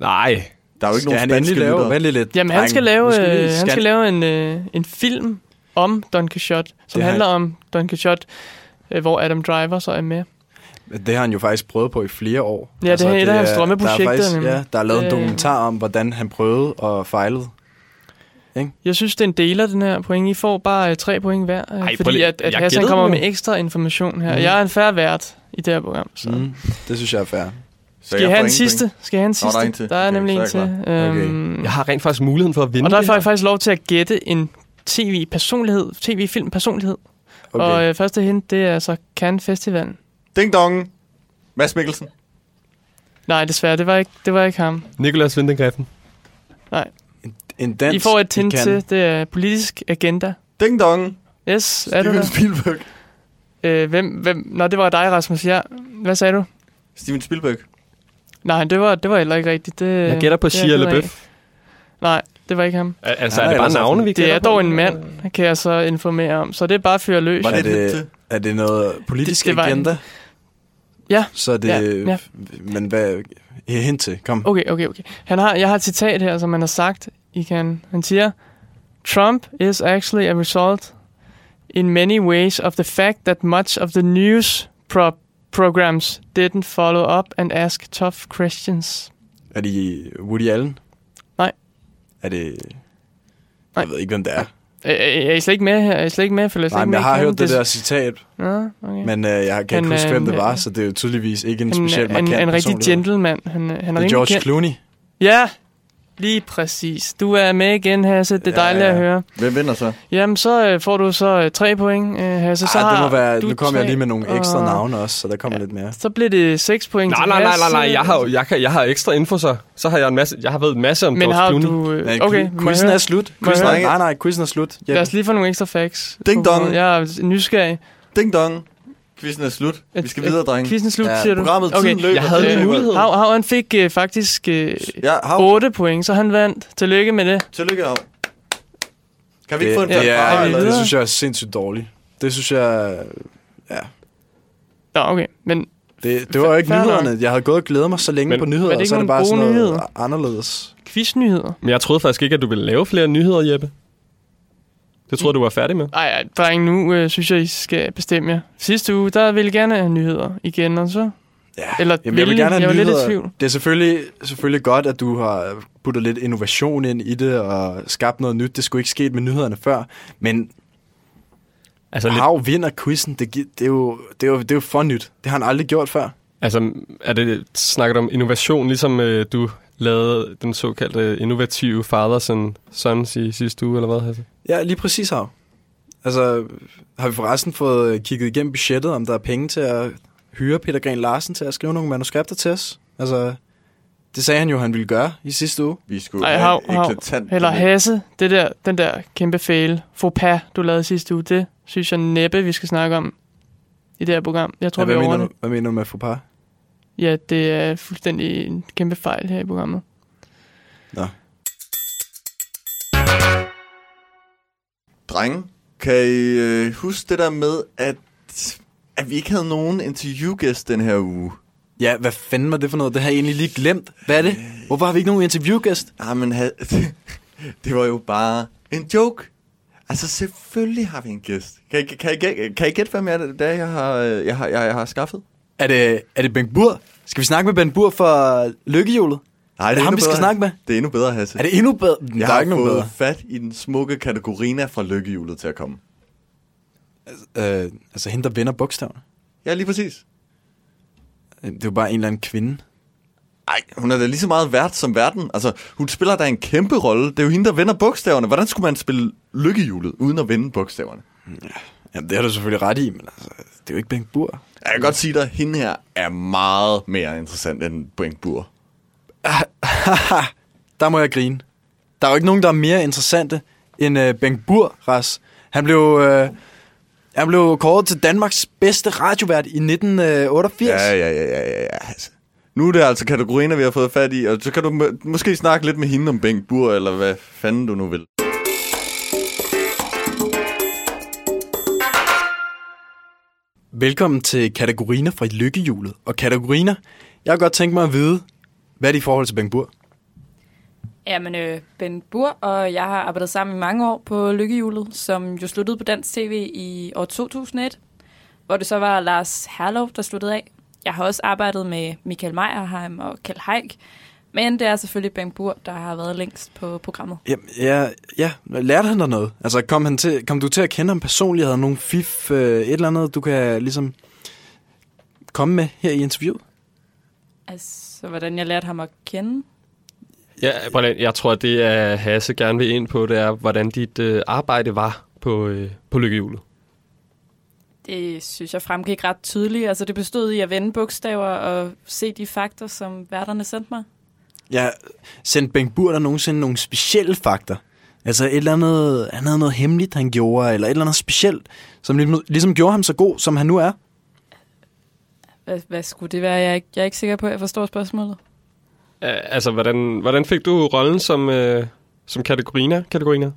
[SPEAKER 2] Nej,
[SPEAKER 4] Der er jo ikke
[SPEAKER 1] Skal han
[SPEAKER 4] nogen
[SPEAKER 1] endelig
[SPEAKER 4] spanske
[SPEAKER 1] lave?
[SPEAKER 4] lyttere.
[SPEAKER 1] Vent lige lidt.
[SPEAKER 3] jamen, han
[SPEAKER 1] drenge.
[SPEAKER 3] skal lave,
[SPEAKER 1] Nu
[SPEAKER 3] øh,
[SPEAKER 1] vi lige-
[SPEAKER 3] han skal lave en, øh, en film om Don Quixote, som
[SPEAKER 1] Det har
[SPEAKER 3] handler om Don Quixote, øh, hvor Adam Driver så er med.
[SPEAKER 1] Det har han jo faktisk prøvet på i flere år. Altså,
[SPEAKER 3] Ja, det er et af hans
[SPEAKER 1] er-
[SPEAKER 3] drømmeprojekter,
[SPEAKER 1] Der er, faktisk,
[SPEAKER 3] nemlig.
[SPEAKER 1] ja, der er lavet en
[SPEAKER 3] Øh.
[SPEAKER 1] dokumentar om, hvordan han prøvede og fejlede.
[SPEAKER 3] Jeg synes, det er en del af den her point. I får bare øh, tre point hver, øh,
[SPEAKER 2] Ej, prøv
[SPEAKER 3] fordi
[SPEAKER 2] lige-
[SPEAKER 3] at, at
[SPEAKER 2] jeg
[SPEAKER 3] Hassan
[SPEAKER 2] gættede
[SPEAKER 3] kommer
[SPEAKER 2] den
[SPEAKER 3] med
[SPEAKER 2] jo.
[SPEAKER 3] ekstra information her. Mm. Jeg er en færre vært i det her program. Så. Mm.
[SPEAKER 1] Mm. Det synes jeg er fair.
[SPEAKER 4] Så
[SPEAKER 3] Skal jeg
[SPEAKER 4] får
[SPEAKER 3] have en
[SPEAKER 4] ingen
[SPEAKER 3] sidste? Skal jeg have en
[SPEAKER 4] Nå,
[SPEAKER 3] sidste?
[SPEAKER 4] der er en til.
[SPEAKER 3] Der er
[SPEAKER 4] Okay,
[SPEAKER 3] nemlig en
[SPEAKER 4] så er jeg
[SPEAKER 3] til. Øhm,
[SPEAKER 2] jeg har rent faktisk muligheden for at vinde
[SPEAKER 3] Og der
[SPEAKER 2] det her.
[SPEAKER 3] får jeg faktisk lov til at gætte en tv-personlighed, tv-film-personlighed. Okay. Og øh, første hint, det er så Cannes Festivalen.
[SPEAKER 4] point. Ding dong! Mads Mikkelsen.
[SPEAKER 3] Nej, desværre, det var ikke, det var ikke ham.
[SPEAKER 2] Nicolas Vindengreffen.
[SPEAKER 1] En dans,
[SPEAKER 3] I får et hint
[SPEAKER 1] kan.
[SPEAKER 3] til, det er politisk agenda.
[SPEAKER 4] Ding dong!
[SPEAKER 3] Yes, er du
[SPEAKER 4] Steven
[SPEAKER 3] der?
[SPEAKER 4] Spielberg.
[SPEAKER 3] Øh, hvem, hvem? Nå, det var dig, Rasmus. Ja. Hvad sagde du?
[SPEAKER 4] Steven Spielberg.
[SPEAKER 3] Nej, det var, det var heller ikke rigtigt. Det,
[SPEAKER 2] Jeg gætter på
[SPEAKER 3] det er jeg
[SPEAKER 2] Shia
[SPEAKER 3] ked af.
[SPEAKER 2] LaBeouf.
[SPEAKER 3] Nej, det var ikke ham.
[SPEAKER 2] Al- Altså,
[SPEAKER 1] Ja,
[SPEAKER 2] er det bare
[SPEAKER 1] ellers-
[SPEAKER 2] navne, vi
[SPEAKER 3] Det
[SPEAKER 2] gætter
[SPEAKER 3] er
[SPEAKER 2] på?
[SPEAKER 3] dog en mand, kan jeg så informere om. Så det er bare at fyre løs.
[SPEAKER 4] Var det,
[SPEAKER 1] Er
[SPEAKER 4] et
[SPEAKER 1] det-
[SPEAKER 4] hit til?
[SPEAKER 1] Er det noget politisk det,
[SPEAKER 3] Det- det var
[SPEAKER 1] det
[SPEAKER 3] en-
[SPEAKER 1] agenda?
[SPEAKER 3] Ja,
[SPEAKER 1] Så er det...
[SPEAKER 3] ja,
[SPEAKER 1] Ja,
[SPEAKER 3] ja. Oh.
[SPEAKER 1] ja. Men hvad... Ja, Hint til, kom.
[SPEAKER 3] Okay, okay, okay. Han har, jeg har et citat her, som han har sagt. I kan, han siger, Trump is actually a result in many ways of the fact that much of the news pro programs didn't follow up and ask tough questions.
[SPEAKER 1] Er det Woody Allen?
[SPEAKER 3] Nej.
[SPEAKER 1] Er det...
[SPEAKER 3] Nej.
[SPEAKER 1] Jeg ved ikke, hvem det er.
[SPEAKER 3] Øh, øh, Er I slet ikke med her? Er I slet ikke med? Følger I slet
[SPEAKER 1] Nej,
[SPEAKER 3] ikke
[SPEAKER 1] men
[SPEAKER 3] med
[SPEAKER 1] jeg
[SPEAKER 3] i
[SPEAKER 1] har hørt
[SPEAKER 3] kampen?
[SPEAKER 1] det der citat,
[SPEAKER 3] Nå, okay.
[SPEAKER 1] men øh, jeg kan ikke
[SPEAKER 3] Han,
[SPEAKER 1] huske,
[SPEAKER 3] øh,
[SPEAKER 1] hvem det var,
[SPEAKER 3] øh,
[SPEAKER 1] så det er jo tydeligvis ikke en
[SPEAKER 3] han, er-
[SPEAKER 1] speciel
[SPEAKER 3] han,
[SPEAKER 1] markant
[SPEAKER 3] han, er en rigtig
[SPEAKER 1] personlighed.
[SPEAKER 3] gentleman. Han, øh, han er
[SPEAKER 1] Det er
[SPEAKER 3] rimelig
[SPEAKER 1] George
[SPEAKER 3] kendt.
[SPEAKER 1] Clooney.
[SPEAKER 3] Ja, lige præcis. Du er med igen, Hasse. Det er
[SPEAKER 1] Ja,
[SPEAKER 3] dejligt
[SPEAKER 1] ja.
[SPEAKER 3] at høre.
[SPEAKER 4] Hvem vinder så?
[SPEAKER 3] Jamen, så øh, får du så øh, tre point, øh, Hasse. Så
[SPEAKER 1] Ej, det
[SPEAKER 3] har
[SPEAKER 1] må være,
[SPEAKER 3] du
[SPEAKER 1] nu kommer jeg
[SPEAKER 3] tre,
[SPEAKER 1] lige med nogle ekstra
[SPEAKER 3] og-
[SPEAKER 1] navne også, så der kommer
[SPEAKER 3] Ja.
[SPEAKER 1] lidt mere.
[SPEAKER 3] Så bliver det 6 point
[SPEAKER 2] Nej,
[SPEAKER 3] til
[SPEAKER 2] nej, nej, nej,
[SPEAKER 3] Hasse.
[SPEAKER 2] nej. Jeg har, jo- jeg, kan, jeg har ekstra info, så. Så har jeg en masse, jeg har ved en masse om
[SPEAKER 3] Men
[SPEAKER 2] George
[SPEAKER 3] har
[SPEAKER 2] Clooney.
[SPEAKER 3] du... øh,
[SPEAKER 1] Nej,
[SPEAKER 3] Okay,
[SPEAKER 1] qui-
[SPEAKER 3] må
[SPEAKER 1] quizzen
[SPEAKER 3] jeg
[SPEAKER 1] er
[SPEAKER 3] høre?
[SPEAKER 1] slut.
[SPEAKER 3] Må jeg
[SPEAKER 1] Quizzen
[SPEAKER 4] høre?
[SPEAKER 1] er, nej, nej, quizzen er slut.
[SPEAKER 3] Lad
[SPEAKER 1] Ja.
[SPEAKER 3] os lige få nogle ekstra facts.
[SPEAKER 4] Ding dong.
[SPEAKER 3] Jeg er nysgerrig.
[SPEAKER 4] Ding dong! Quizzen er slut. Vi skal videre, drenge.
[SPEAKER 3] Quizzen er slut,
[SPEAKER 1] Ja,
[SPEAKER 3] siger du.
[SPEAKER 4] Programmet okay. tiden løber.
[SPEAKER 2] Jeg havde
[SPEAKER 4] Det er
[SPEAKER 2] lige
[SPEAKER 4] godt.
[SPEAKER 2] mulighed.
[SPEAKER 3] Hav, Hav, han fik øh, faktisk øh,
[SPEAKER 4] Ja, hav.
[SPEAKER 3] 8 point, så han vandt. Tillykke med det.
[SPEAKER 4] Tillykke, hav. Kan vi ikke
[SPEAKER 1] Det,
[SPEAKER 4] få en
[SPEAKER 1] ja,
[SPEAKER 4] fanfare,
[SPEAKER 1] ja,
[SPEAKER 4] eller?
[SPEAKER 1] det
[SPEAKER 3] videre?
[SPEAKER 1] synes jeg er sindssygt dårligt. Det synes jeg...
[SPEAKER 3] Nå, okay. Men
[SPEAKER 1] Det, det var jo ikke
[SPEAKER 3] Fair nok.
[SPEAKER 1] nyhederne. Jeg havde gået og glædet mig så længe
[SPEAKER 2] Men-
[SPEAKER 1] på
[SPEAKER 3] var det
[SPEAKER 1] nyheder, og
[SPEAKER 3] ikke
[SPEAKER 1] så er det
[SPEAKER 3] nogle
[SPEAKER 1] bare sådan
[SPEAKER 3] gode
[SPEAKER 1] noget
[SPEAKER 3] nyheder?
[SPEAKER 1] anderledes.
[SPEAKER 3] quiznyheder.
[SPEAKER 2] Men jeg troede faktisk ikke, at du ville lave flere nyheder, Jeppe. Det troede jeg, du var færdig med.
[SPEAKER 3] Ej, ej, dreng, nu øh, synes jeg, I skal bestemme jer. Sidste uge, der ville I gerne have nyheder igen, og så...
[SPEAKER 1] Ja.
[SPEAKER 3] Eller
[SPEAKER 1] Jamen, jeg vil
[SPEAKER 3] ville I?
[SPEAKER 1] gerne have
[SPEAKER 3] Jeg var lidt i
[SPEAKER 1] nyheder.
[SPEAKER 3] tvivl.
[SPEAKER 1] Det er selvfølgelig, selvfølgelig godt, at du har puttet lidt innovation ind i det og skabt noget nyt. Det skulle ikke sket med nyhederne før. Men
[SPEAKER 2] Altså, lidt,
[SPEAKER 1] Hav vinder quizzen. Det, gi- det, er jo, det, er jo, det er jo for nyt. Det har han aldrig gjort før.
[SPEAKER 2] altså er det, snakker du om innovation, ligesom øh, du lavede den såkaldte innovative Fathers and Sons i sidste uge, eller hvad? Hasse?
[SPEAKER 1] Ja, lige præcis Hav. Altså, har vi forresten fået øh, kigget igennem budgettet, om der er penge til at hyre Peter Gren Larsen til at skrive nogle manuskripter til os? Altså, det sagde han jo, han ville gøre i sidste uge.
[SPEAKER 4] Vi skulle
[SPEAKER 3] Ej,
[SPEAKER 4] have
[SPEAKER 3] hav,
[SPEAKER 4] en
[SPEAKER 3] hav.
[SPEAKER 4] eklatant-
[SPEAKER 3] Eller Hasse, det der, den der kæmpe fail, faux pas, du lavede sidste uge, det synes jeg næppe, vi skal snakke om i det her program. Jeg tror,
[SPEAKER 1] Ja,
[SPEAKER 3] ja, vi
[SPEAKER 1] hvad,
[SPEAKER 3] er over
[SPEAKER 1] mener
[SPEAKER 3] det.
[SPEAKER 1] du, hvad mener du med faux pas?
[SPEAKER 3] Ja, det er fuldstændig en kæmpe fejl her i programmet.
[SPEAKER 4] Drenge, kan I øh, huske det der med, at, at vi ikke havde nogen interviewgæst den her uge?
[SPEAKER 1] Ja, hvad fanden var det for noget? Det har jeg egentlig lige glemt. Hvad er det? Hvorfor har vi ikke nogen interviewgæst?
[SPEAKER 4] Ah, men ha- det var jo bare en joke. Altså, selvfølgelig har vi en gæst. Kan I, kan I, gæ- kan I gætte, hvem jeg, det er, jeg har, øh, jeg, har, jeg, jeg har skaffet?
[SPEAKER 1] Er det, er det Bengt Bur? Skal vi snakke med Bengt Bur fra Lykkehjulet?
[SPEAKER 4] Nej,
[SPEAKER 1] Er det ham, vi skal snakke med?
[SPEAKER 4] Det er endnu bedre, Hasse.
[SPEAKER 1] Er det endnu bedre?
[SPEAKER 4] jeg
[SPEAKER 1] der
[SPEAKER 4] har
[SPEAKER 1] er ikke nogen
[SPEAKER 4] fået
[SPEAKER 1] bedre.
[SPEAKER 4] fat i den smukke kategorina fra lykkehjulet til at komme.
[SPEAKER 1] Øh, altså hende, der vender bogstaverne.
[SPEAKER 4] Ja, lige præcis.
[SPEAKER 1] Øh, Det er jo bare en eller anden kvinde.
[SPEAKER 4] Ej, hun er da lige så meget vært som verden. Altså, hun spiller da en kæmpe rolle. Det er jo hende, der vender bogstaverne. Hvordan skulle man spille lykkehjulet uden at vende bogstaverne?
[SPEAKER 1] Jamen, det har du selvfølgelig ret i, men altså, det er jo ikke Bengt Bur.
[SPEAKER 4] Jeg kan godt sige dig, at hende her er meget mere interessant end Brink Bur.
[SPEAKER 1] Der må jeg grine. Der er jo ikke nogen, der er mere interessante end øh, Bengt Bur, Ras. Han blev, øh, han blev kåret til Danmarks bedste radiovært i øh, 1988.
[SPEAKER 4] Ja, ja, ja, ja, ja, ja. Altså. Nu er det altså kategorien, vi har fået fat i, og så kan du må- måske snakke lidt med hende om Bengt Bur, eller hvad fanden du nu vil.
[SPEAKER 1] Velkommen til kategoriner fra Lykkehjulet. Og kategoriner, jeg har godt tænkt mig at vide, hvad er det i forhold til Bengt Bur?
[SPEAKER 6] Jamen, øh, Ben Bur og jeg har arbejdet sammen i mange år på Lykkehjulet, som jo sluttede på Dansk TV i år 2001, hvor det så var Lars Herlov, der sluttede af. Jeg har også arbejdet med Michael Meierheim og Kjeld Haik, men det er selvfølgelig Ben Bur, der har været længst på programmet.
[SPEAKER 1] Ja, ja, ja, lærte han dig noget? Altså, kom, han til, kom du til at kende ham personligt? Havde han nogle fif, øh, et eller andet, du kan ligesom komme med her i interviewet?
[SPEAKER 6] Altså, hvordan jeg lærte ham at kende.
[SPEAKER 2] Ja, prøv lige, jeg tror, det er Hasse gerne vil ind på, det er, hvordan dit øh, arbejde var på, øh, på lykkehjulet.
[SPEAKER 6] Det synes jeg fremgik ret tydeligt. Altså, det bestod i at vende bogstaver og se de fakter, som værterne sendte mig.
[SPEAKER 1] Ja, sendte Bengt Bur der nogensinde nogle specielle fakter? Altså et eller andet, han havde noget hemmeligt, han gjorde, eller et eller andet specielt, som ligesom, ligesom gjorde ham så god, som han nu er?
[SPEAKER 6] Hvad, hvad skulle det være? Jeg er, ikke, jeg er ikke sikker på, at jeg forstår spørgsmålet.
[SPEAKER 2] Øh, altså, hvordan, hvordan fik du rollen som, øh, som kategoriner? kategoriner?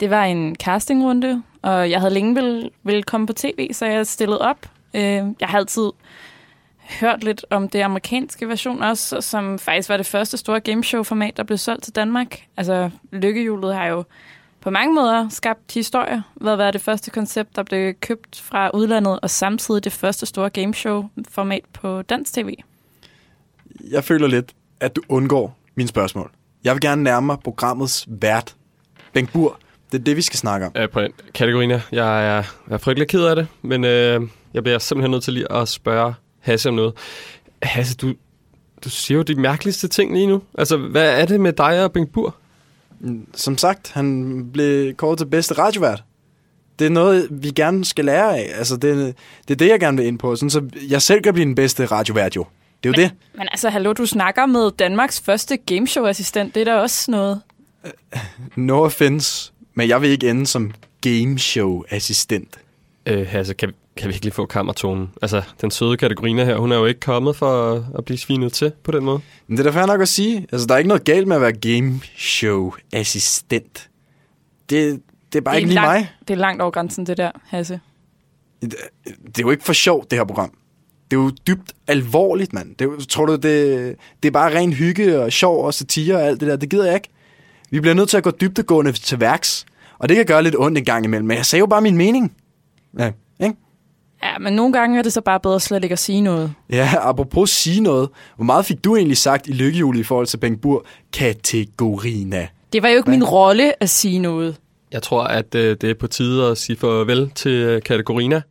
[SPEAKER 6] Det var en castingrunde, og jeg havde længe ville, ville komme på tv, så jeg stillede op. Øh, jeg har altid hørt lidt om det amerikanske version også, som faktisk var det første store gameshow-format, der blev solgt til Danmark. Altså, Lykkehjulet har jo på mange måder skabt historier, ved at være det første koncept, der blev købt fra udlandet, og samtidig det første store gameshow-format på dansk tv.
[SPEAKER 1] Jeg føler lidt, at du undgår mine spørgsmål. Jeg vil gerne nærme mig programmets vært. Bengt Bur, det er det, vi skal snakke om.
[SPEAKER 2] Øh, på kategoriner. Jeg er, jeg er frygtelig ked af det, men øh, jeg bliver simpelthen nødt til lige at spørge Hasse om noget. Hasse, du, du siger jo de mærkeligste ting lige nu. Altså, hvad er det med dig og Bengt Bur?
[SPEAKER 1] Som sagt, han blev kåret til bedste radiovært. Det er noget, vi gerne skal lære af. Altså, det, det er det, jeg gerne vil ind på. Sådan, så jeg selv kan blive den bedste radiovært, jo. Det er jo det.
[SPEAKER 6] Men altså, hallo, du snakker med Danmarks første gameshow-assistent. Det er da også noget.
[SPEAKER 1] No offense, men jeg vil ikke ende som gameshow-assistent.
[SPEAKER 2] Øh, Hasse, kan, kan vi ikke lige få kammertonen? Altså, den søde kategoriner her, hun er jo ikke kommet for at, at blive svinet til på den måde.
[SPEAKER 1] Men det er da fair nok at sige. Altså, der er ikke noget galt med at være gameshow-assistent. Det, det er bare
[SPEAKER 6] Det er
[SPEAKER 1] ikke lige
[SPEAKER 6] langt,
[SPEAKER 1] mig.
[SPEAKER 6] Det er langt over grænsen, det der, Hasse.
[SPEAKER 1] det er jo ikke for sjovt, det her program. Det er jo dybt alvorligt, mand. Det er, jo- tror du, det, det er bare ren hygge og sjov og satire og alt det der? Det gider jeg ikke. Vi bliver nødt til at gå dybtegående til værks. Og det kan gøre lidt ondt en gang imellem, men jeg sagde jo bare min mening. Ja, ikke?
[SPEAKER 6] Ja, men nogle gange er det så bare bedre slet ikke at sige noget.
[SPEAKER 1] Ja, apropos sige noget. Hvor meget fik du egentlig sagt i lykkehjulet i forhold til Bengt Bur? Kategorina.
[SPEAKER 6] Det var jo ikke
[SPEAKER 1] Hvad?
[SPEAKER 6] min rolle at sige noget.
[SPEAKER 2] Jeg tror, at øh, det er på tide at sige farvel til øh, Kategorina.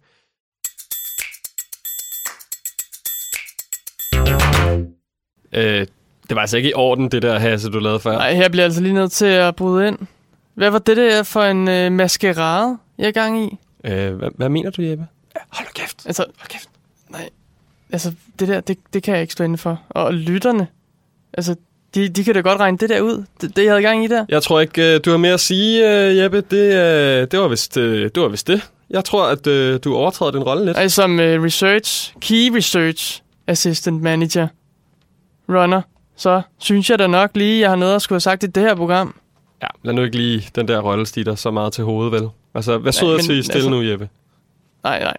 [SPEAKER 2] Øh, det var altså ikke i orden, det der hasse, du lavede før.
[SPEAKER 3] Nej, her bliver jeg altså lige nødt til at bryde ind. Hvad var det der for en øh, maskerade, jeg er gang i?
[SPEAKER 2] Øh, hvad, hvad mener du, Jeppe?
[SPEAKER 1] Hold da kæft.
[SPEAKER 3] Altså, hold kæft. Nej. Altså, det der, det, det kan jeg ikke stå inden for. Og lytterne, altså, de, de kan da godt regne det der ud. Det, det jeg havde gang i der.
[SPEAKER 2] Jeg tror ikke, øh, du har mere at sige, øh, Jeppe. Det, øh, det, var vist, øh, det var vist det. Jeg tror, at øh, du overtræder din rolle lidt.
[SPEAKER 3] Og som øh, research, key research assistant manager, runner, så synes jeg da nok lige, jeg har noget at skulle have sagt i det her program.
[SPEAKER 2] Ja, lad nu ikke lige den der rolle stige dig så meget til hovedet, vel? Altså, hvad sidder
[SPEAKER 3] Nej,
[SPEAKER 2] jeg
[SPEAKER 3] men
[SPEAKER 2] til stille
[SPEAKER 3] altså-
[SPEAKER 2] nu, Jeppe?
[SPEAKER 3] Nej, nej.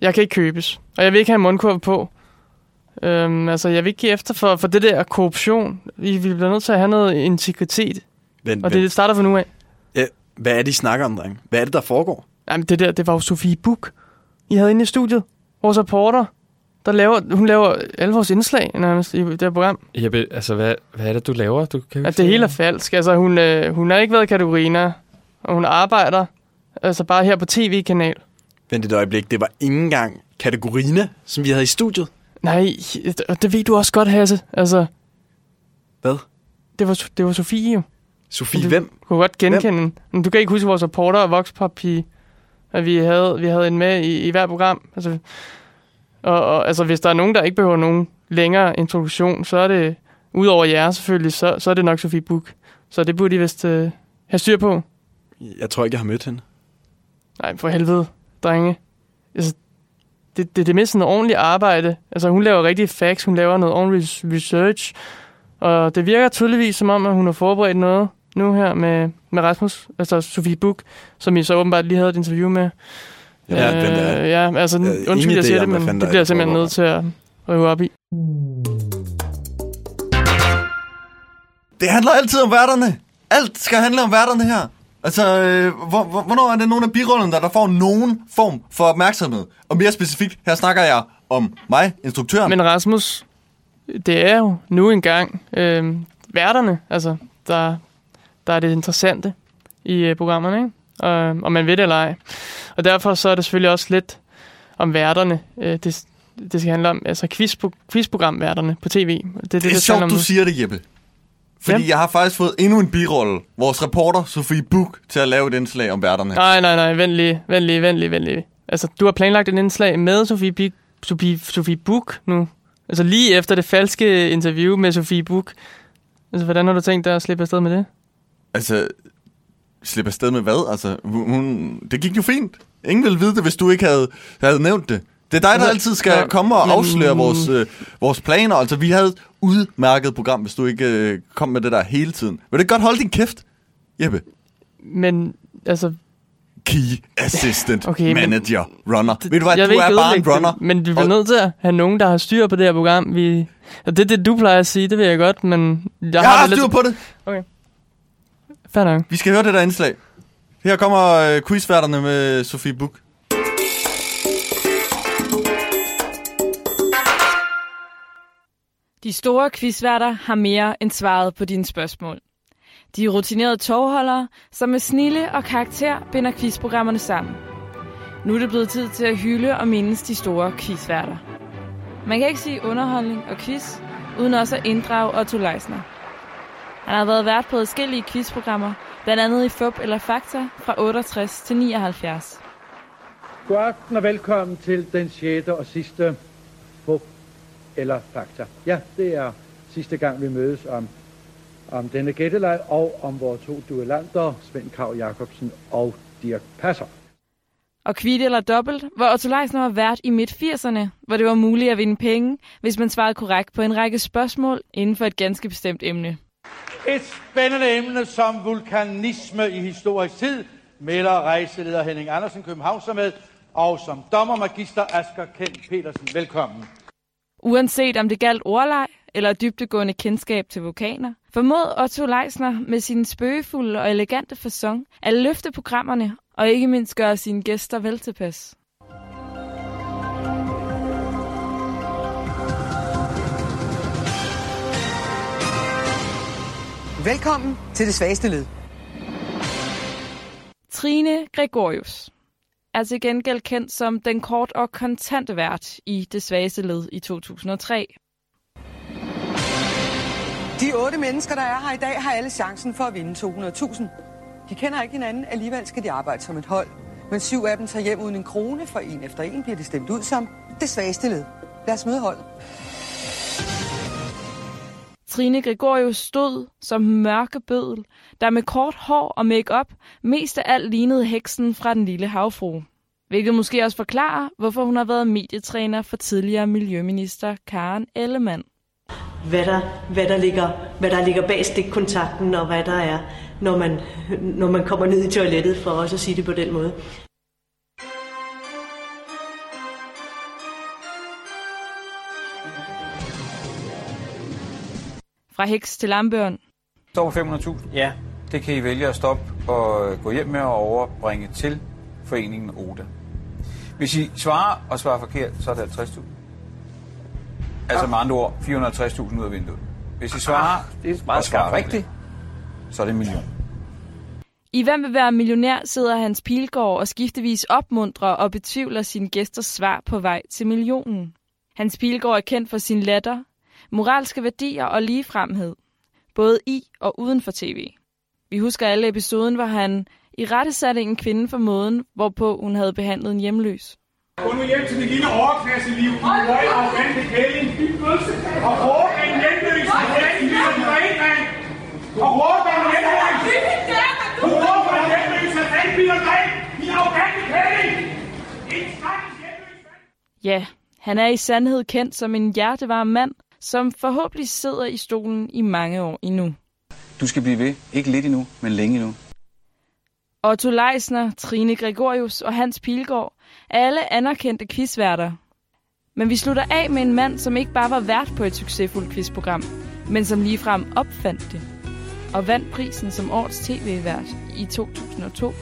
[SPEAKER 3] Jeg kan ikke købes. Og jeg vil ikke have en mundkurv på. Øhm, altså, jeg vil ikke give efter for, for det der korruption. Vi, vi bliver nødt til at have noget integritet.
[SPEAKER 1] Vent,
[SPEAKER 3] Og det,
[SPEAKER 1] vent.
[SPEAKER 3] det starter fra nu af.
[SPEAKER 1] Ja, Hvad er det, I snakker om, dreng? Hvad er det, der foregår?
[SPEAKER 3] Jamen, det der, det var jo Sofie Buk, I havde inde i studiet. Vores reporter, der laver, hun laver alle vores indslag nærmest i det her program.
[SPEAKER 2] Jeppe, altså, hvad, hvad er det, du laver? Du kan jo
[SPEAKER 3] At
[SPEAKER 2] ikke-
[SPEAKER 3] det hele er falsk. Altså, hun, øh, hun har ikke været i kategoriner, og hun arbejder altså bare her på tv-kanal.
[SPEAKER 1] Vent et øjeblik, det var ikke engang Kategorina, som vi havde i studiet.
[SPEAKER 3] Nej, det- og det ved du også godt, Hasse. Altså,
[SPEAKER 1] Hvad?
[SPEAKER 3] det var, det var Sofie jo.
[SPEAKER 1] Sofie,
[SPEAKER 3] Det-
[SPEAKER 1] hvem?
[SPEAKER 3] Du kunne godt genkende hende. Men du kan ikke huske vores reporter og vokspapi, at vi havde, vi havde en med i, i hver program. Altså, og, og, altså, hvis der er nogen, der ikke behøver nogen længere introduktion, så er det, udover jer selvfølgelig, så, så er det nok Sofie Buk. Så det burde I vist øh, have styr på.
[SPEAKER 1] Jeg tror ikke, jeg har mødt hende.
[SPEAKER 3] Nej, for helvede, drenge. Altså, det, det, det er mest sådan noget ordentligt arbejde. Altså, hun laver rigtige facts, hun laver noget ordentlig res- research. Og det virker tydeligvis som om, at hun har forberedt noget nu her med, med Rasmus, altså Sofie Buk, som I så åbenbart lige havde et interview med.
[SPEAKER 1] Jeg ved ikke, hvem det er.
[SPEAKER 3] ja, altså,
[SPEAKER 1] Jeg har
[SPEAKER 3] øh,
[SPEAKER 1] ingen
[SPEAKER 3] undskyld, jeg
[SPEAKER 1] idé
[SPEAKER 3] siger
[SPEAKER 1] om,
[SPEAKER 3] det,
[SPEAKER 1] hvad
[SPEAKER 3] men
[SPEAKER 1] fanden
[SPEAKER 3] det
[SPEAKER 1] der er
[SPEAKER 3] bliver jeg
[SPEAKER 1] i
[SPEAKER 3] simpelthen nødt til at rive op i.
[SPEAKER 4] Det handler altid om værterne. Alt skal handle om værterne her. Altså, øh, hvor, hvor, hvornår er det nogen af birollerne, der, der får nogen form for opmærksomhed? Og mere specifikt, her snakker jeg om mig, instruktøren. Men...
[SPEAKER 3] Men Rasmus, det er jo nu engang øh, værterne, altså, der, der er det interessante i øh, programmerne, ikke? Og, om man ved det eller ej. Og derfor så er det selvfølgelig også lidt om værterne, øh, det, det skal handle om, altså quizpro, quizprogramværterne på tv. Det,
[SPEAKER 4] Det er
[SPEAKER 3] skal handle
[SPEAKER 4] sjovt,
[SPEAKER 3] om
[SPEAKER 4] du
[SPEAKER 3] nu.
[SPEAKER 4] siger det, Jeppe. Fordi
[SPEAKER 3] Ja.
[SPEAKER 4] jeg har faktisk fået endnu en birolle. Vores reporter, Sofie Buk, til at lave et indslag om værterne.
[SPEAKER 3] Nej, nej, nej, vent lige, vent lige, vent lige, vent lige. Altså, du har planlagt et indslag med Sofie, Bik, Sofie, Sofie Buk nu. Altså lige efter det falske interview med Sofie Buk. Altså, hvordan har du tænkt dig at slippe afsted med det?
[SPEAKER 4] Altså, slippe afsted med hvad? Altså, hun, hun- det gik jo fint. Ingen ville vide det, hvis du ikke havde, havde nævnt det. Det er dig, der
[SPEAKER 3] Altså,
[SPEAKER 4] altid skal
[SPEAKER 3] ja,
[SPEAKER 4] komme og
[SPEAKER 3] men-
[SPEAKER 4] afsløre vores, øh, vores planer. Altså, vi havde et udmærket program, hvis du ikke øh, kom med det der hele tiden. Vil du ikke godt holde din kæft, Jeppe?
[SPEAKER 3] Men altså,
[SPEAKER 4] Key assistant, okay,
[SPEAKER 3] Okay, men-
[SPEAKER 4] manager, runner. Ved du hvad,
[SPEAKER 3] jeg
[SPEAKER 4] du
[SPEAKER 3] vil ikke
[SPEAKER 4] er bare en
[SPEAKER 3] ødelægge
[SPEAKER 4] runner.
[SPEAKER 3] Det, men vi bliver
[SPEAKER 4] Og-
[SPEAKER 3] nødt til at have nogen, der har styr på det her program. Vi, og det er det, du plejer at sige, det ved jeg godt, men jeg,
[SPEAKER 4] Jeg har styr på det.
[SPEAKER 3] Fair nok.
[SPEAKER 4] Vi skal høre det der indslag. Her kommer øh, quizværterne med Sofie Buk.
[SPEAKER 6] De store quizværter har mere end svaret på dine spørgsmål. De er rutinerede togholdere, som med snille og karakter binder quizprogrammerne sammen. Nu er det blevet tid til at hylde og mindes de store quizværter. Man kan ikke sige underholdning og quiz, uden også at inddrage Otto Leisner. Han har været vært på adskillige quizprogrammer, blandt andet i Fup eller Fakta fra 68 til 79.
[SPEAKER 7] God aften og velkommen til den 6. og sidste fup eller fakta. Ja, det er sidste gang, vi mødes om, om denne gætteleg og om vores to duellanter, Svend Krav Jacobsen og Dirk Passer.
[SPEAKER 6] Og kvit eller dobbelt, hvor Otto Leisner var vært i midt-80'erne, hvor det var muligt at vinde penge, hvis man svarede korrekt på en række spørgsmål inden for et ganske bestemt emne.
[SPEAKER 7] Et spændende emne som vulkanisme i historisk tid, melder rejseleder Henning Andersen København sig med, og som dommer magister Asger Kent Petersen. Velkommen.
[SPEAKER 6] Uanset om det galt ordleg eller dybtegående kendskab til vulkaner, formåede Otto Leisner med sin spøgefulde og elegante façon at løfte programmerne og ikke mindst gøre sine gæster vel tilpas.
[SPEAKER 8] Velkommen til det svageste led.
[SPEAKER 6] Trine Gregorius er til gengæld kendt som den kort og kontante vært i Det svageste led i 2003.
[SPEAKER 8] De otte mennesker, der er her i dag, har alle chancen for at vinde 200.000. De kender ikke hinanden, alligevel skal de arbejde som et hold. Men syv af dem tager hjem uden en krone, for en efter en bliver de stemt ud som det svageste led. Lad os møde holdet.
[SPEAKER 6] Trine Gregorius stod som mørke bødel, der med kort hår og makeup mest af alt lignede heksen fra den lille havfru. Hvilket måske også forklarer, hvorfor hun har været medietræner for tidligere miljøminister Karen Ellemann.
[SPEAKER 9] hvad der, hvad der, ligger, hvad der ligger bag stikkontakten, og hvad der er, når man, når man kommer ned i toilettet, for også at sige det på den måde.
[SPEAKER 6] Fra heks til lambørn.
[SPEAKER 10] Står på 500.000? Ja. Det kan I vælge at stoppe og øh, gå hjem med og overbringe til foreningen ODA. Hvis I svarer og svarer forkert, så er det 50.000. Altså med andre ord, 450.000 ud af vinduet. Hvis I svarer og svarer rigtigt, så er det en million.
[SPEAKER 6] I Hvem vil være millionær sidder Hans Pilgaard og skiftevis opmuntrer og betvivler sine gæsters svar på vej til millionen. Hans Pilgaard er kendt for sin latter, moralske værdier og ligefremhed, både i og uden for tv. Vi husker alle episoden, hvor han i rette satte en kvinde for måden, hvorpå hun havde behandlet en hjemløs.
[SPEAKER 10] Gå nu hjem til det lille overklasseliv, i røg og vand i kælling, og råd en hjemløs, og den lille drejmand, og råd en hjemløs. Du råber en hjemløs, og den lille drejmand, i vand i kælling. En stakkels hjemløs mand.
[SPEAKER 6] Ja, han er i sandhed kendt som en hjertevarm mand, som forhåbentlig sidder i stolen i mange år endnu.
[SPEAKER 10] Du skal blive ved. Ikke lidt endnu, men længe endnu.
[SPEAKER 6] Otto Leisner, Trine Gregorius og Hans Pilgaard er alle anerkendte quizværter. Men vi slutter af med en mand, som ikke bare var vært på et succesfuldt quizprogram, men som ligefrem opfandt det og vandt prisen som årets tv-vært i 2002.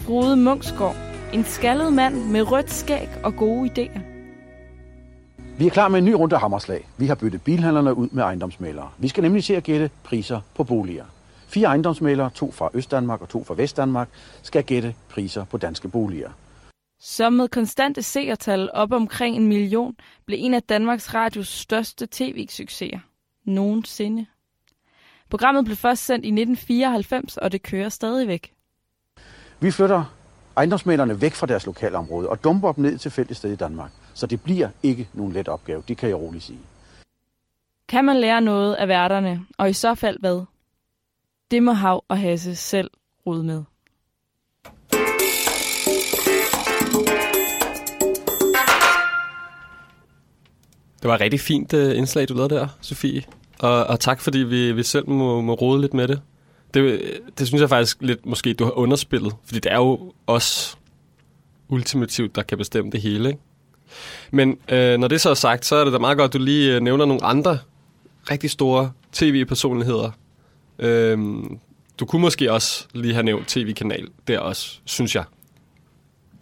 [SPEAKER 6] Frode Munksgaard, en skaldet mand med rødt skæg og gode idéer.
[SPEAKER 10] Vi er klar med en ny runde af hammerslag. Vi har byttet bilhandlerne ud med ejendomsmalere. Vi skal nemlig se at gætte priser på boliger. Fire ejendomsmalere, to fra Østdanmark og to fra Vestdanmark, skal gætte priser på danske boliger.
[SPEAKER 6] Så med konstante seertal op omkring en million, blev en af Danmarks Radios største tv-succeser. Nogensinde. Programmet blev først sendt i 1994, og det kører stadigvæk.
[SPEAKER 10] Vi flytter ejendomsmalerne væk fra deres lokalområde og dumper dem ned til fælles sted i Danmark. Så det bliver ikke nogen let opgave, det kan jeg roligt sige.
[SPEAKER 6] Kan man lære noget af værterne, og i så fald hvad? Det må Hav og Hasse selv rode med.
[SPEAKER 2] Det var et rigtig fint uh, indslag, du lavede der, Sofie. Og, og tak, fordi vi, vi selv må, må rode lidt med det. det. øh, Det synes jeg faktisk lidt, måske du har underspillet. Fordi det er jo os ultimativt, der kan bestemme det hele. Ikke? Men øh, når det så er sagt, så er det da meget godt, at du lige øh, nævner nogle andre rigtig store tv-personligheder. Øhm, du kunne måske også lige have nævnt tv-kanal der også, synes jeg.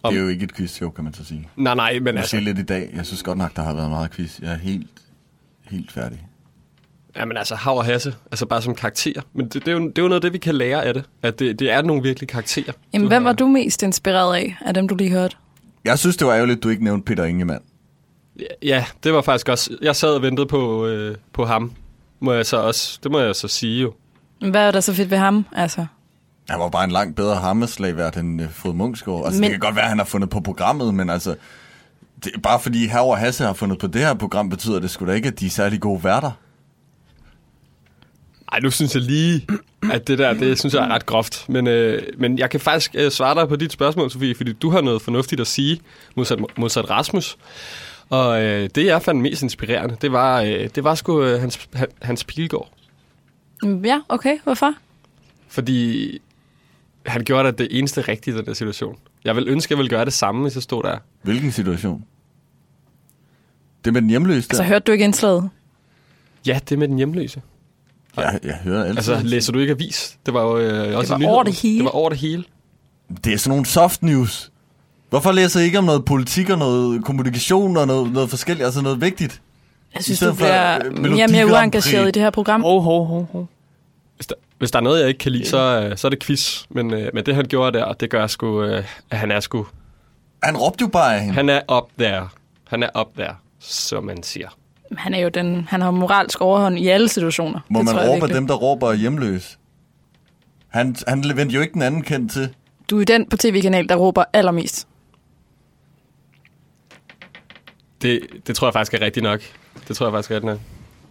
[SPEAKER 4] Det er jo ikke et quizshow, kan man så sige.
[SPEAKER 2] Nej, nej, men
[SPEAKER 4] Jeg
[SPEAKER 2] altså...
[SPEAKER 4] siger lidt i dag. Jeg synes godt nok, der har været meget quiz. Jeg er helt, helt færdig.
[SPEAKER 2] Jamen altså, Hav og Hasse, altså bare som karakterer. Men det, det, er, jo, det er jo noget af det, vi kan lære af det. At det, det er nogle virkelige karakterer.
[SPEAKER 11] Jamen, hvem var du mest inspireret af, af dem, du lige hørte?
[SPEAKER 4] Jeg synes, det var ærgerligt, du ikke nævnte Peter Ingemann.
[SPEAKER 2] Ja, det var faktisk også... Jeg sad og ventede på, øh, på ham. Må jeg så også, det må jeg så sige jo.
[SPEAKER 11] Hvad er der så fedt ved ham? Altså,
[SPEAKER 4] Han var bare en langt bedre hammerslagvært end øh, Frode Munchsgaard. Altså, men...
[SPEAKER 11] Men-
[SPEAKER 4] det kan godt være, at han har fundet på programmet, men altså... Det, er bare fordi Hav og Hasse har fundet på det her program, betyder det sgu da ikke, at de er særlig gode værter.
[SPEAKER 2] Ej, nu synes jeg lige, at det der, det synes jeg er ret groft. Men, øh, men jeg kan faktisk øh, svare dig på dit spørgsmål, Sofie, fordi du har noget fornuftigt at sige, modsat, modsat Rasmus. Og øh, det, jeg fandt mest inspirerende, det var, øh, det var sgu øh, hans, han, hans Pilgaard.
[SPEAKER 11] mm, ja, okay, hvorfor?
[SPEAKER 2] Fordi han gjorde da det eneste rigtige i den der situation. Jeg vil ønske, at jeg ville gøre det samme, hvis jeg stod der.
[SPEAKER 4] Hvilken situation? Det med den hjemløse der.
[SPEAKER 6] Så hørte du ikke indslaget?
[SPEAKER 2] Ja, det med den hjemløse.
[SPEAKER 4] jeg, jeg hører altid.
[SPEAKER 2] Altså,
[SPEAKER 4] Altså,
[SPEAKER 2] læser du ikke avis? Det var jo øh, også
[SPEAKER 6] var
[SPEAKER 2] i nyhederne.
[SPEAKER 6] over det hele.
[SPEAKER 2] Det var over det hele.
[SPEAKER 4] det er sådan nogle soft news. Hvorfor læser I ikke om noget politik og noget kommunikation og noget, noget forskelligt, altså noget vigtigt?
[SPEAKER 6] Jeg
[SPEAKER 4] synes,
[SPEAKER 6] synes,
[SPEAKER 4] I stedet
[SPEAKER 6] du
[SPEAKER 4] du bliver
[SPEAKER 6] bliver
[SPEAKER 4] for, øh, mere og mere
[SPEAKER 6] mere og
[SPEAKER 4] Melodi
[SPEAKER 6] mere
[SPEAKER 4] Grand uengageret Prix.
[SPEAKER 6] uengageret i
[SPEAKER 4] i
[SPEAKER 6] det
[SPEAKER 4] det
[SPEAKER 6] her program.
[SPEAKER 3] Hov, hov, hov, hov.
[SPEAKER 2] Hvis der, hvis der er noget, jeg ikke kan lide, så, øh, så er det quiz. Men, øh, men det, han gjorde der, det gør jeg sgu... Øh, at han er sgu...
[SPEAKER 4] Han råbte jo bare af hende.
[SPEAKER 2] Han er op der. Han er op der, som man siger.
[SPEAKER 6] Han er jo den, han har moralsk overhånd i alle situationer.
[SPEAKER 4] Må
[SPEAKER 6] det
[SPEAKER 4] man
[SPEAKER 6] tror jeg
[SPEAKER 4] råbe af
[SPEAKER 6] virkelig.
[SPEAKER 4] dem, der råber er hjemløse? Han, han vendte jo ikke den anden kendt til.
[SPEAKER 6] Du er den på tv-kanal, der råber allermest.
[SPEAKER 2] Det, det tror jeg faktisk er rigtigt nok. Det tror jeg faktisk er rigtigt nok.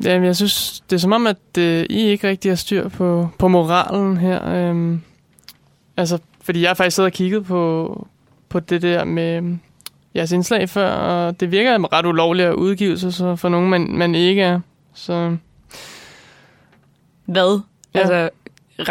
[SPEAKER 3] Jamen, jeg synes, det er som om, at øh, I ikke rigtig har styr på, på moralen her. Øhm, altså, fordi jeg har faktisk siddet og kigget på, på det der med øhm, jeres indslag før, og det virker ret ulovligt at udgive sig så for nogen, man, man ikke er. Så
[SPEAKER 6] Hvad?
[SPEAKER 3] Ja.
[SPEAKER 6] Ja. Altså,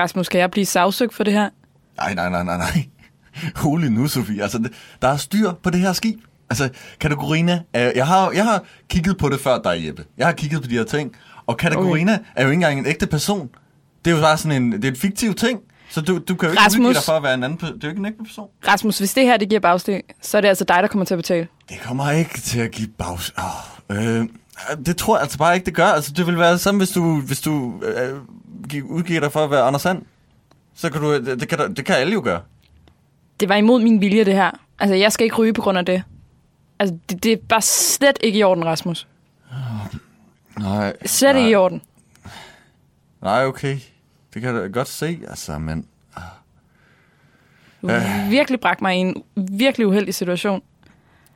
[SPEAKER 6] Rasmus, skal jeg blive sagsøgt for det her?
[SPEAKER 4] Nej, nej, nej, nej, nej. Rolig nu, Sofie. Altså, det- der er styr på det her skib. Altså, kategorina... Er, jeg, har, jeg har kigget på det før dig, Jeppe. Jeg har kigget på de her ting. Og kategorina okay. er jo ikke engang en ægte person. Det er jo bare sådan en... Det er en fiktiv ting. Så du, du kan jo ikke
[SPEAKER 6] Rasmus.
[SPEAKER 4] udgive dig for at være en anden... pe- Det er jo ikke en ægte person.
[SPEAKER 6] Rasmus, hvis det her det giver bagsteg, så er det altså dig, der kommer til at betale.
[SPEAKER 4] Det kommer ikke til at give bags... Oh, øh, det tror jeg altså bare ikke, det gør. Altså, det vil være det samme, hvis du, hvis du øh, gi- udgiver dig for at være Anders Sand. Så kan du... øh, Det, det, kan, der- det kan alle jo gøre.
[SPEAKER 6] Det var imod min vilje, det her. Altså, jeg skal ikke ryge på grund af det. Altså, det, det er bare slet ikke i orden, Rasmus.
[SPEAKER 4] Nej.
[SPEAKER 6] Slet
[SPEAKER 4] nej.
[SPEAKER 6] ikke i orden.
[SPEAKER 4] Nej, okay. Det kan jeg da godt se, altså, men...
[SPEAKER 6] Du har virkelig bragt mig i en virkelig uheldig situation.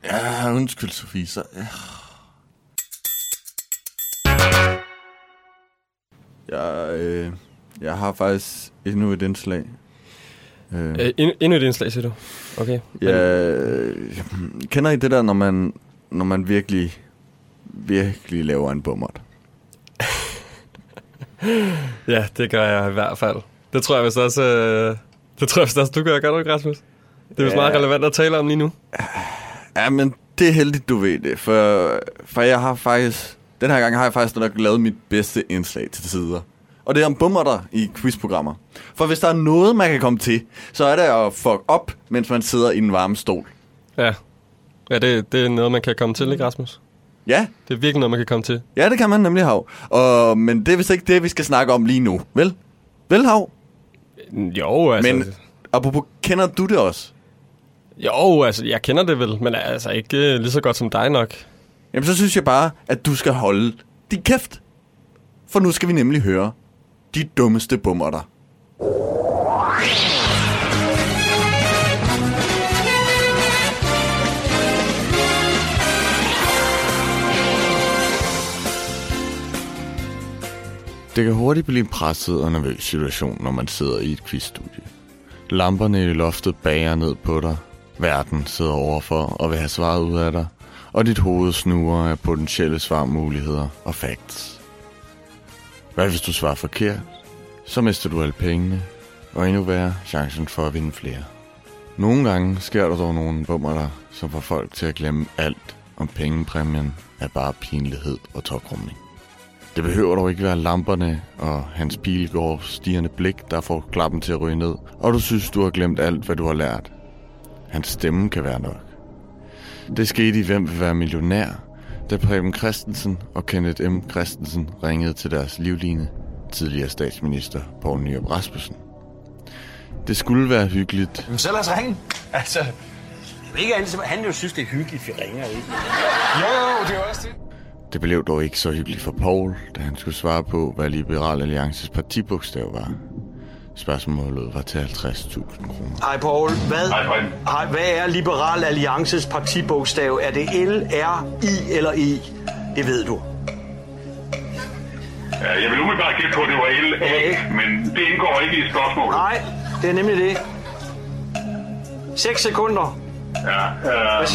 [SPEAKER 4] Ja, undskyld, Sofie. Så, ja. Jeg, øh, jeg har faktisk endnu et indslag. Øh,
[SPEAKER 2] Øh, endnu- endnu et indslag, siger du? Okay.
[SPEAKER 4] ja, øh, kender I det der, når man, når man virkelig, virkelig laver en bummert?
[SPEAKER 2] Ja, det gør jeg i hvert fald. Det tror jeg vist også, øh, det tror jeg vist også du gør, gør du ikke, Rasmus? Det er vist
[SPEAKER 4] Ja.
[SPEAKER 2] meget relevant at tale om lige nu.
[SPEAKER 4] Ja, men det er heldigt, du ved det, for, for jeg har faktisk... Den her gang har jeg faktisk nok lavet mit bedste indslag til tider. Og det er om bummerter i quizprogrammer. For hvis der er noget, man kan komme til, så er det at fuck op, mens man sidder i en varme stol.
[SPEAKER 2] Ja. Mm. Ja, det, det er noget, man kan komme til, ikke, Rasmus?
[SPEAKER 4] Ja,
[SPEAKER 2] Det er virkelig noget, man kan komme til.
[SPEAKER 4] ja det kan man nemlig, Hav. Og, men det er vist ikke det, vi skal snakke om lige nu. Vel? Vel, Hav?
[SPEAKER 2] Jo, altså...
[SPEAKER 4] Men apropos, kender du det også?
[SPEAKER 2] Jo, altså, jeg kender det vel, men altså ikke øh, lige så godt som dig nok.
[SPEAKER 4] Jamen, så synes jeg bare, at du skal holde din kæft. For nu skal vi nemlig høre de dummeste bummerter. Det kan hurtigt blive en presset og nervøs situation, når man sidder i et quizstudie. Lamperne i loftet bager ned på dig. Verden sidder overfor og vil have svaret ud af dig. Og dit hoved snuger af potentielle svarmuligheder og facts. Hvad hvis du svarer forkert? Så mister du alle pengene. Og endnu værre, chancen for at vinde flere. Nogle gange sker der dog nogle bummerter, som får folk til at glemme alt om pengepræmien er bare pinlighed og tokrumning. Det behøver dog ikke være lamperne og hans pilgårds stigende blik, der får klappen til at ryge ned, og du synes, du har glemt alt, hvad du har lært. Hans stemme kan være nok. Det skete i Hvem vil være millionær, da Preben Christensen og Kenneth M. Christensen ringede til deres livline, tidligere statsminister Poul Nyrup Rasmussen. Det skulle være hyggeligt,
[SPEAKER 10] Men så lad os ringe. Altså, ikke altid, han jo synes, det er hyggeligt, vi ringer, ikke? Jo, jo, det er også det.
[SPEAKER 4] Det blev dog ikke så hyggeligt for Paul, da han skulle svare på, hvad Liberal Alliances partibogstav var. Spørgsmålet var til 50.000 kroner.
[SPEAKER 12] Hej Poul, hvad, hej, hvad er Liberal Alliances partibogstav? Er det L, R, I eller E? Det ved du.
[SPEAKER 10] Jeg vil umiddelbart gætte på, at det var
[SPEAKER 12] LA,
[SPEAKER 10] men det indgår ikke i spørgsmålet.
[SPEAKER 12] Nej, det er nemlig det. 6 sekunder.
[SPEAKER 10] Ja, øh,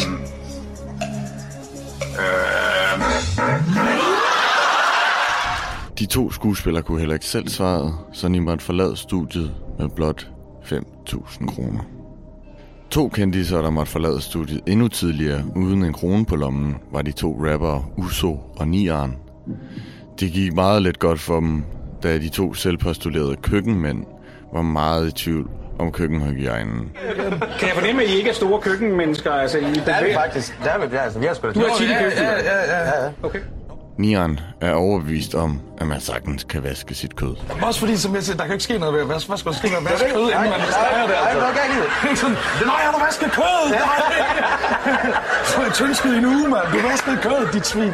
[SPEAKER 4] De to skuespillere kunne heller ikke selv svare, så de måtte forlade studiet med blot 5.000 kroner. To kendiser, der måtte forlade studiet endnu tidligere uden en krone på lommen, var de to rappere Uso og Nian. Det gik meget let godt for dem, da de to selvpostulerede køkkenmænd var meget i tvivl om køkkenhygiejnen.
[SPEAKER 13] Kan jeg fornemme, at I ikke er store køkkenmennesker? Altså, I
[SPEAKER 14] Der er vi faktisk. Der er vi, altså, vi har sgu da
[SPEAKER 13] Du har tit i
[SPEAKER 14] Ja,
[SPEAKER 13] køkkenet.
[SPEAKER 14] ja, ja, ja, ja.
[SPEAKER 13] Okay.
[SPEAKER 4] Nian er overbevist om, at man sagtens kan vaske sit kød.
[SPEAKER 14] Også fordi, som jeg siger, der kan ikke ske noget ved at vaske. Hvad skal der ske noget ved at vaske
[SPEAKER 13] Nej,
[SPEAKER 14] kød, inden man
[SPEAKER 13] nej,
[SPEAKER 14] steger det?
[SPEAKER 13] nej,
[SPEAKER 14] Altså.
[SPEAKER 13] der er gang i
[SPEAKER 14] det. Nej, har du vasket kød?
[SPEAKER 13] Ja.
[SPEAKER 14] Nej. Så er det tyndskid i en uge, mand. Du vaskede kød, dit svin.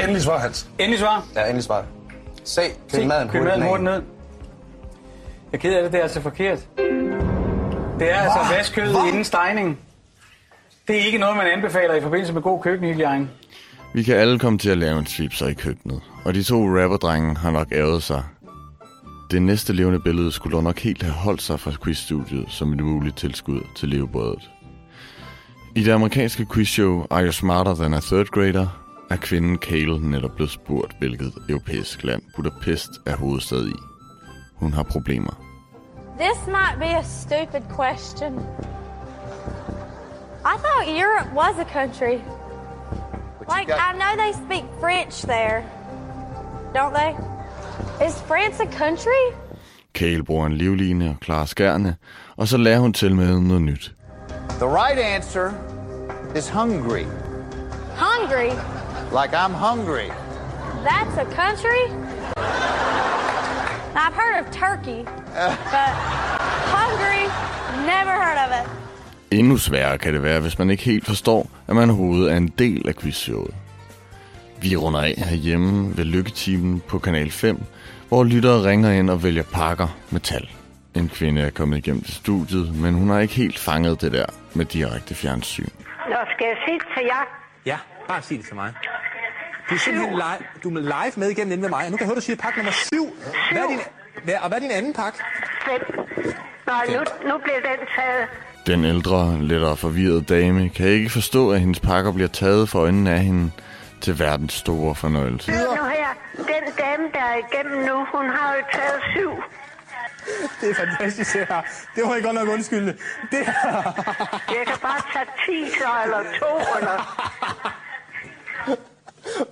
[SPEAKER 14] Endelig svar, Hans.
[SPEAKER 13] Endelig svar.
[SPEAKER 14] Ja, endelig svar. Se,
[SPEAKER 13] Se, køl maden hurtigt ned. Jeg er ked af det, det er altså forkert. Det er altså vaskødet inden stegning. Det er ikke noget, man anbefaler i forbindelse med god køkkenhygiejne.
[SPEAKER 4] Vi kan alle komme til at lave en svipser i køkkenet, og de to rapperdrenge har nok ærget sig. Det næste levende billede skulle dog nok helt have holdt sig fra quizstudiet som et muligt tilskud til levebrødet. I det amerikanske quizshow Are You Smarter Than a Third Grader er kvinden Kale netop blevet spurgt, hvilket europæisk land Budapest er hovedstad i. Hun har problemer.
[SPEAKER 9] This might be a stupid question. I thought Europe was a country. Like, I know they speak French there, don't they? Is France a country?
[SPEAKER 4] Kale bruger en livline og klarer skærne, og så lærer hun til med noget nyt.
[SPEAKER 15] The right answer is hungry.
[SPEAKER 9] Hungary?
[SPEAKER 15] Like I'm hungry.
[SPEAKER 9] That's a country? Now, I've heard of Turkey, but Hungary, never heard of it.
[SPEAKER 4] Endnu sværere kan det være, hvis man ikke helt forstår, at man overhovedet er en del af quizshowet. Vi runder af herhjemme ved Lykketimen på Kanal 5, hvor lyttere ringer ind og vælger pakker med tal. En kvinde er kommet igennem til studiet, men hun har ikke helt fanget det der med direkte fjernsyn.
[SPEAKER 16] Nå, skal jeg sige til jer?
[SPEAKER 17] Ja, bare sig det til mig. Du er simpelthen live, du er live med igennem inden med mig, og nu kan jeg høre, du siger pakke nummer 7. Hvad er din, hvad, og hvad er din anden pakke?
[SPEAKER 16] Nå, nu, nu bliver den taget.
[SPEAKER 4] Den ældre, lettere forvirrede dame kan ikke forstå, at hendes pakker bliver taget for øjnene af hende til verdens store fornøjelse.
[SPEAKER 16] Hør nu her. Den dame, der er igennem nu, hun har jo taget syv.
[SPEAKER 17] Det er fantastisk, det her. Det må jeg godt nok undskylde. Det her.
[SPEAKER 16] Jeg kan bare tage ti så, eller to, eller...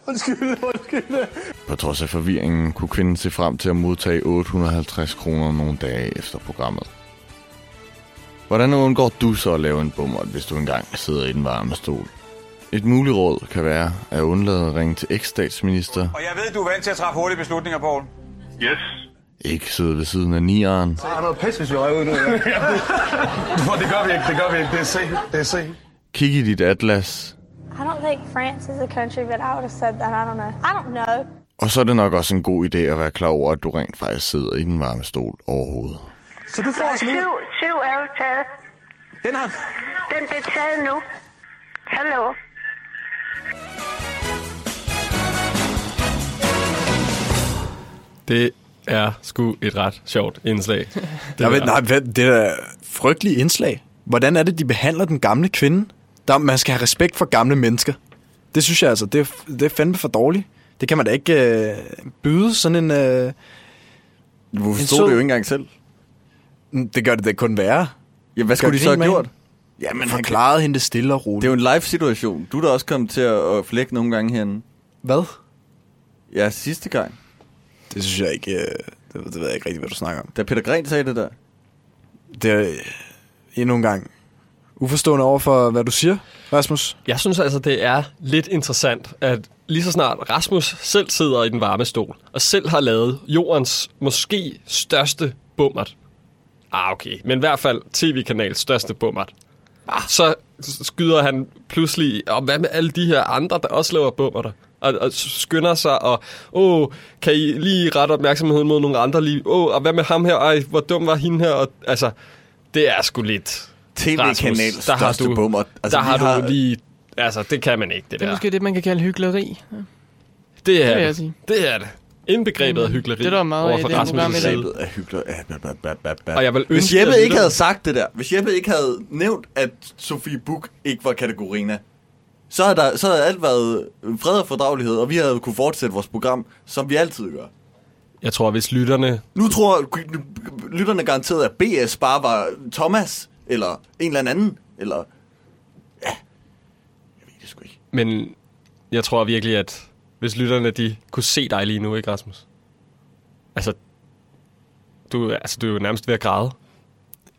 [SPEAKER 17] Undskyld, undskyld.
[SPEAKER 4] På trods af forvirringen kunne kvinden se frem til at modtage 850 kroner nogle dage efter programmet. Hvordan undgår du så at lave en bummer, hvis du engang sidder i den varme stol? Et muligt råd kan være at undlade at ringe til eks-statsminister,
[SPEAKER 10] Og jeg ved, du er vant til at træffe hurtige beslutninger, Poul. Yes.
[SPEAKER 4] ikke sidde ved siden af nieren,
[SPEAKER 14] Så er der noget pis, hvis vi røg ud nu. Ja. Nå, det gør vi ikke, det gør vi ikke. Det er se, det er se.
[SPEAKER 4] kigge i dit atlas,
[SPEAKER 9] I don't think France is a country, but I would have said that. I don't know. I don't know.
[SPEAKER 4] og så er det nok også en god idé at være klar over, at du rent faktisk sidder i den varme stol overhovedet.
[SPEAKER 17] Så du får os nu.
[SPEAKER 16] Syv, syv er jo taget.
[SPEAKER 17] Den har...
[SPEAKER 16] Den bliver taget nu. Hallo.
[SPEAKER 2] Det er sgu et ret sjovt indslag.
[SPEAKER 1] Det jeg ved, nej, hvad, det er da frygtelige indslag. Hvordan er det, de behandler den gamle kvinde? Der, man skal have respekt for gamle mennesker. Det synes jeg altså, det er, det er fandme for dårligt. Det kan man da ikke øh, byde sådan en... Øh,
[SPEAKER 4] du forstod det jo ikke engang selv.
[SPEAKER 1] Det gør det da kun værre.
[SPEAKER 4] Ja, hvad skulle de så have gjort?
[SPEAKER 1] Ja,
[SPEAKER 4] Jamen,
[SPEAKER 1] men
[SPEAKER 4] han
[SPEAKER 1] forklarede hende det stille og roligt.
[SPEAKER 4] Det er jo en live-situation. Du er da også kommet til at at flække nogle gange herinde.
[SPEAKER 1] Hvad?
[SPEAKER 4] Ja, sidste gang.
[SPEAKER 1] Det synes jeg ikke... Øh, det, det ved jeg ikke rigtig, hvad du snakker om.
[SPEAKER 4] Da Peter Gren sagde det der?
[SPEAKER 1] Det er øh, endnu en gang uforstående over for, hvad du siger, Rasmus.
[SPEAKER 2] Jeg synes altså, det er lidt interessant, at lige så snart Rasmus selv sidder i den varme stol, og selv har lavet jordens måske største bummert. Ah, okay. Men i hvert fald tv-kanals største bummert. Ah, så skyder han pludselig, og hvad med alle de her andre, der også laver bummerter? Og, og skynder sig, og åh, kan I lige rette opmærksomheden mod nogle andre lige? Åh, og hvad med ham her? Ej, hvor dum var hende her? Og, altså, det er sgu lidt...
[SPEAKER 4] TV-kanals
[SPEAKER 2] Rasmus, der har
[SPEAKER 4] største
[SPEAKER 2] du-
[SPEAKER 4] bummert. Altså,
[SPEAKER 2] der
[SPEAKER 4] vi
[SPEAKER 2] har, har
[SPEAKER 4] har-
[SPEAKER 2] du lige... Altså, det kan man ikke, det,
[SPEAKER 3] Det er
[SPEAKER 2] der.
[SPEAKER 3] måske det, man kan kalde hyggeleri.
[SPEAKER 2] Det
[SPEAKER 3] Det vil
[SPEAKER 2] er
[SPEAKER 3] jeg
[SPEAKER 2] det.
[SPEAKER 3] sige.
[SPEAKER 2] Det er det. Indbegrebet af
[SPEAKER 3] Mm,
[SPEAKER 2] hyggeleri.
[SPEAKER 3] det er der meget af i
[SPEAKER 2] overfor
[SPEAKER 3] det her
[SPEAKER 2] Rasmus'
[SPEAKER 3] program i dag.
[SPEAKER 2] side.
[SPEAKER 4] af hyggeleri.
[SPEAKER 2] Og jeg vil
[SPEAKER 4] Hvis
[SPEAKER 2] ønske,
[SPEAKER 4] Jeppe
[SPEAKER 2] at
[SPEAKER 4] ikke
[SPEAKER 2] lytterne-
[SPEAKER 4] havde sagt det der, hvis Jeppe ikke havde nævnt, at Sofie Buk ikke var kategorina, så havde, der, så havde alt været fred og fordragelighed, og vi havde kunne fortsætte vores program, som vi altid gør.
[SPEAKER 2] Jeg tror, hvis lytterne...
[SPEAKER 4] Nu tror lytterne garanteret, at BS bare var Thomas eller en eller anden, eller
[SPEAKER 2] Men jeg tror virkelig, at hvis lytterne de kunne se dig lige nu, ikke Rasmus? Altså, du, altså, du er jo nærmest ved at græde.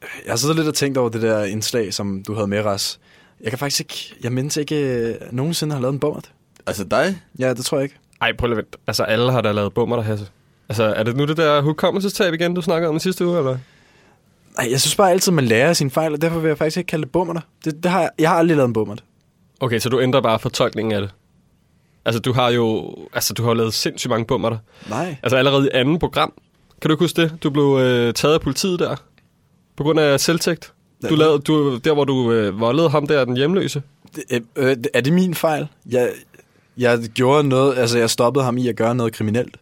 [SPEAKER 1] Jeg har siddet lidt og tænkt over det der indslag, som du havde med, Ras. Jeg kan faktisk ikke... Jeg mindes ikke øh, nogensinde har lavet en bummer.
[SPEAKER 4] Altså dig?
[SPEAKER 1] Ja, det tror jeg ikke.
[SPEAKER 2] Ej, prøv lige at vente. Altså, alle har da lavet bummer der, Hasse. Altså, er det nu det der hukommelsestab igen, du snakkede om i sidste uge, eller?
[SPEAKER 1] Nej, jeg synes bare altid, man lærer af sine fejl, og derfor vil jeg faktisk ikke kalde det bummer. Det, det har jeg, jeg har aldrig lavet en bummer.
[SPEAKER 2] Okay, så du ændrer bare fortolkningen af det. Altså, du har jo altså, du har jo lavet sindssygt mange bummer der.
[SPEAKER 1] Nej.
[SPEAKER 2] Altså, allerede i anden program. Kan du ikke huske det? Du blev øh, taget af politiet der. På grund af selvtægt. Du
[SPEAKER 1] Ja.
[SPEAKER 2] lavede, du, der, hvor du øh, voldede ham der, den hjemløse.
[SPEAKER 1] Det, øh, er det min fejl? Jeg, jeg gjorde noget... Altså, jeg stoppede ham i at gøre noget kriminelt.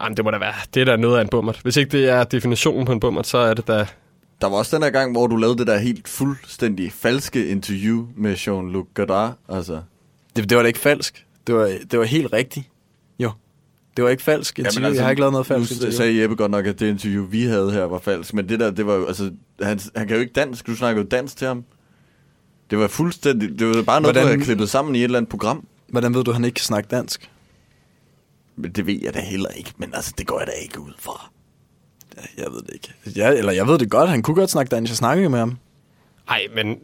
[SPEAKER 2] Jamen, Ah, det må da være. Det er da noget af en bummert. Hvis ikke det er definitionen på en bummert, så er det da...
[SPEAKER 4] Der var også den der gang, hvor du lavede det der helt fuldstændig falske interview med Jean-Luc Godard, altså.
[SPEAKER 1] Det, det var da ikke falsk. Det var, det var helt rigtigt. Jo. Det var ikke falsk. Interview. altså, jeg har ikke lavet noget falsk.
[SPEAKER 4] Nu
[SPEAKER 1] interview.
[SPEAKER 4] sagde Jeppe godt nok, at det interview, vi havde her, var falsk. Men det der, det var jo, altså, han, han kan jo ikke dansk. Du snakker jo dansk til ham. Det var fuldstændig, det var bare noget, Hvordan... du
[SPEAKER 1] Hvordan-
[SPEAKER 4] havde klippet sammen i et eller andet program.
[SPEAKER 1] Hvordan ved du, at han ikke kan snakke dansk?
[SPEAKER 4] Men det ved jeg da heller ikke, men altså, det går jeg da ikke ud fra.
[SPEAKER 1] Jeg ved det ikke. Ja, eller jeg ved det godt. Han kunne godt snakke dansk. Jeg snakkede jo med ham.
[SPEAKER 2] Ej, men...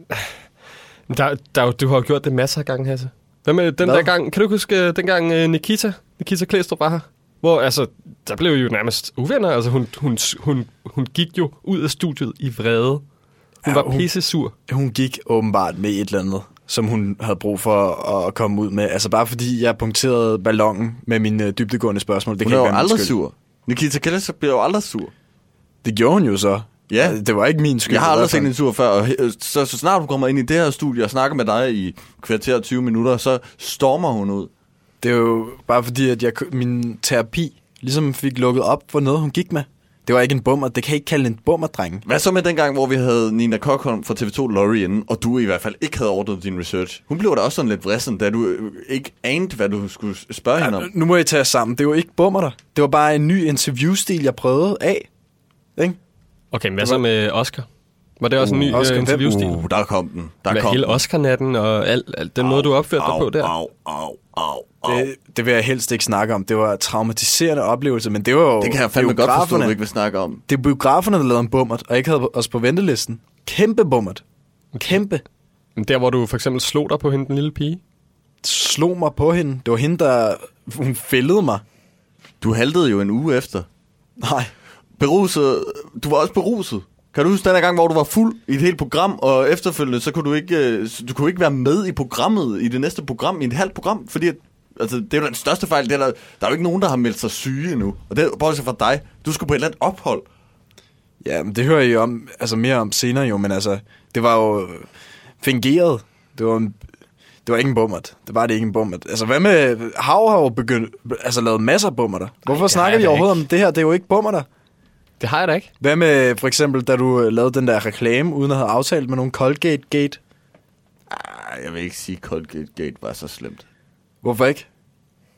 [SPEAKER 2] Der, der, er jo- du har jo gjort det masser af gange, Hasse. Hvad med den
[SPEAKER 1] Hvad?
[SPEAKER 2] der gang... Kan du ikke huske øh, dengang øh, Nikita, Nikita Klæstrup var her? Hvor, altså, der blev I jo nærmest uvenner. Altså, hun, hun, hun, hun gik jo ud af studiet i vrede. Hun ja, var
[SPEAKER 1] hun-
[SPEAKER 2] pisse sur.
[SPEAKER 1] Hun gik åbenbart med et eller andet, som hun havde brug for at komme ud med. Altså bare fordi jeg punkterede ballongen med mine øh, dybdegående spørgsmål. Det
[SPEAKER 4] Hun
[SPEAKER 1] kan
[SPEAKER 4] er
[SPEAKER 1] ikke være
[SPEAKER 4] jo
[SPEAKER 1] min
[SPEAKER 4] aldrig
[SPEAKER 1] skyld.
[SPEAKER 4] sur. Nikita Kallers bliver jo aldrig sur.
[SPEAKER 1] Det gjorde hun jo så.
[SPEAKER 4] Ja.
[SPEAKER 1] Det var ikke min skyld.
[SPEAKER 4] Jeg har
[SPEAKER 1] i
[SPEAKER 4] aldrig
[SPEAKER 1] hvert
[SPEAKER 4] set
[SPEAKER 1] fald.
[SPEAKER 4] en tur før, og he- så, så snart du kommer ind i det her studie og snakker med dig i kvarter og 20 minutter, så stormer hun ud.
[SPEAKER 1] Det er jo bare fordi, at jeg, min terapi ligesom fik lukket op for noget, hun gik med. Det var ikke en bummer. Det kan jeg ikke kalde en bummer, drenge.
[SPEAKER 4] Hvad så med den gang, hvor vi havde Nina Kokholm fra TV2 Lorry inden, og du i hvert fald ikke havde ordnet din research? Hun blev da også sådan lidt vrissen, da du øh, ikke anede, hvad du skulle spørge hende om.
[SPEAKER 1] Nu må I tage jer sammen. Det var ikke bummer der. Det var bare en ny interviewstil, jeg prøvede af. Ikke?
[SPEAKER 2] Okay, men hvad så med Oscar? Var det også en ny
[SPEAKER 1] Oscar, Mm.
[SPEAKER 2] Oscar,
[SPEAKER 1] hvem?
[SPEAKER 2] interviewstil?
[SPEAKER 4] Uh, der kom den. Der
[SPEAKER 2] med
[SPEAKER 4] kom
[SPEAKER 2] hele
[SPEAKER 4] den.
[SPEAKER 2] Oscar-natten og al, al, den måde, du opførte dig på der.
[SPEAKER 4] Au, au, au, au.
[SPEAKER 1] Det, det vil jeg helst ikke snakke om. Det var en traumatiserende oplevelse, men det var jo
[SPEAKER 4] Det kan jeg fandme godt forstå,
[SPEAKER 1] biograferne.
[SPEAKER 4] du ikke vil snakke om.
[SPEAKER 1] Det er biograferne, der lavede en bummert, og ikke havde os på ventelisten. Kæmpe bummert. Kæmpe.
[SPEAKER 2] Men der, hvor du for eksempel slog dig på hende, den lille pige?
[SPEAKER 1] Slog mig på hende. Det var hende, der... Hun fældede mig.
[SPEAKER 4] Du haltede jo en uge efter.
[SPEAKER 1] Nej.
[SPEAKER 4] Beruset. Du var også beruset. Kan du huske den her gang, hvor du var fuld i et helt program, og efterfølgende, så kunne du ikke, øh, du kunne ikke være med i programmet, i det næste program, i et halvt program, fordi at, altså, det er jo den største fejl, det er der, der er jo ikke nogen, der har meldt sig syge endnu, og det er bortset fra dig, du skulle på et eller andet ophold.
[SPEAKER 1] Ja, men det hører I om, altså mere om senere jo, men altså, det var jo fingeret. Det var, en, det var ikke en bummert. Det var det ikke en bummert. Altså, hvad med... Hav har jo begyndt, altså, lavet masser af bummerter. Hvorfor
[SPEAKER 2] har
[SPEAKER 1] snakker
[SPEAKER 2] jeg
[SPEAKER 1] vi
[SPEAKER 2] da
[SPEAKER 1] overhovedet
[SPEAKER 2] ikke.
[SPEAKER 1] om det her? Det er jo ikke bummerter.
[SPEAKER 2] Det har jeg da ikke.
[SPEAKER 1] Hvad med for eksempel, da du øh, lavede den der reklame, uden at have aftalt med nogen Colgate-gate?
[SPEAKER 4] Ej, jeg vil ikke sige, at Colgate Gate var så slemt.
[SPEAKER 1] Hvorfor ikke?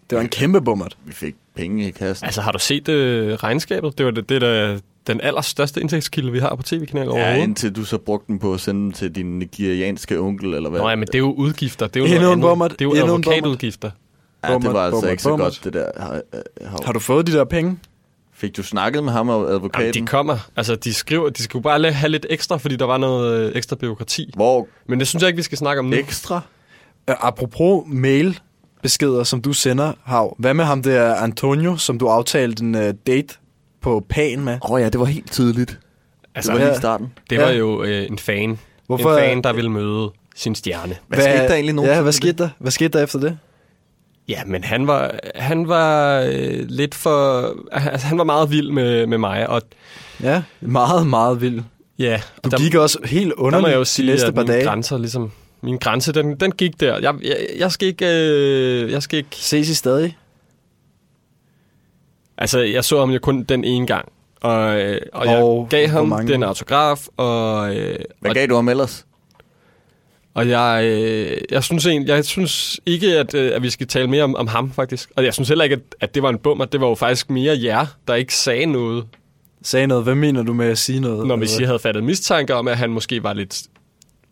[SPEAKER 1] Det var en kæmpe bummert.
[SPEAKER 4] Vi fik penge i kassen.
[SPEAKER 2] Altså, har du set øh, regnskabet? Det var det, det der, den allerstørste indtægtskilde, vi har på tv-kanalen
[SPEAKER 4] Ja,
[SPEAKER 2] overhovedet.
[SPEAKER 4] indtil du så brugte den på at sende dem til din nigerianske onkel, eller hvad?
[SPEAKER 2] Nå ja, men det er jo udgifter. Det er jo
[SPEAKER 1] Endnu
[SPEAKER 2] noget
[SPEAKER 1] en
[SPEAKER 2] andet.
[SPEAKER 1] bommert.
[SPEAKER 2] Det er jo
[SPEAKER 1] Endnu en bommert.
[SPEAKER 2] advokatudgifter.
[SPEAKER 4] Ja, det var
[SPEAKER 1] Bommert,
[SPEAKER 4] altså
[SPEAKER 1] bommert,
[SPEAKER 4] ikke så
[SPEAKER 1] bommert.
[SPEAKER 4] godt, det der. Har, øh, har,
[SPEAKER 1] Har du fået de der penge?
[SPEAKER 4] Fik du snakket med ham og advokaten?
[SPEAKER 2] Jamen, de kommer. Altså, de skriver, de skulle bare la- have lidt ekstra, fordi der var noget øh, ekstra byråkrati.
[SPEAKER 4] Hvor
[SPEAKER 2] Men det synes jeg ikke, vi skal snakke om nu.
[SPEAKER 4] ekstra?
[SPEAKER 1] Øh, Apropos mail beskeder, som du sender, Hav. Hvad med ham der Antonio, som du aftalte en uh, date på Pan med?
[SPEAKER 4] Åh oh, ja, det var helt tidligt.
[SPEAKER 2] Altså,
[SPEAKER 4] det var helt i starten.
[SPEAKER 2] Det var jo øh, en fan.
[SPEAKER 1] Hvorfor-
[SPEAKER 2] En fan, der ville møde sin stjerne.
[SPEAKER 4] Hvad skete der egentlig nogensinde
[SPEAKER 1] Ja,
[SPEAKER 4] med
[SPEAKER 1] hvad skete der? Hvad skete der efter det?
[SPEAKER 2] Ja, men han var, han var øh, lidt for... Altså, han var meget vild med, med mig, og
[SPEAKER 1] Ja, meget, meget vild.
[SPEAKER 2] ja...
[SPEAKER 1] Du
[SPEAKER 2] og der,
[SPEAKER 1] gik også helt
[SPEAKER 2] der må
[SPEAKER 1] underligt
[SPEAKER 2] jeg jo
[SPEAKER 1] de
[SPEAKER 2] sige,
[SPEAKER 1] næste
[SPEAKER 2] at
[SPEAKER 1] par
[SPEAKER 2] mine
[SPEAKER 1] dage.
[SPEAKER 2] grænser ligesom... Min grænse, den, den gik der. Jeg, jeg, jeg skal ikke... Øh, jeg skal ikke...
[SPEAKER 1] Ses I stadig?
[SPEAKER 2] Altså, jeg så ham jo kun den ene gang. Og, øh, og jeg
[SPEAKER 1] Og
[SPEAKER 2] gav
[SPEAKER 1] hvor
[SPEAKER 2] ham
[SPEAKER 1] mange?
[SPEAKER 2] den autograf, og, øh,
[SPEAKER 4] Hvad
[SPEAKER 2] og,
[SPEAKER 4] gav du ham ellers?
[SPEAKER 2] og jeg, øh, jeg, synes egentlig, jeg synes ikke, at, øh, at vi skal tale mere om, om ham, faktisk. Og jeg synes heller ikke, at, at det var en bummer. Det var jo faktisk mere jer, der ikke sagde noget.
[SPEAKER 1] sagde noget. Hvad mener du med at sige noget?
[SPEAKER 2] Når vi siger, havde fattet mistanke om, at han måske var lidt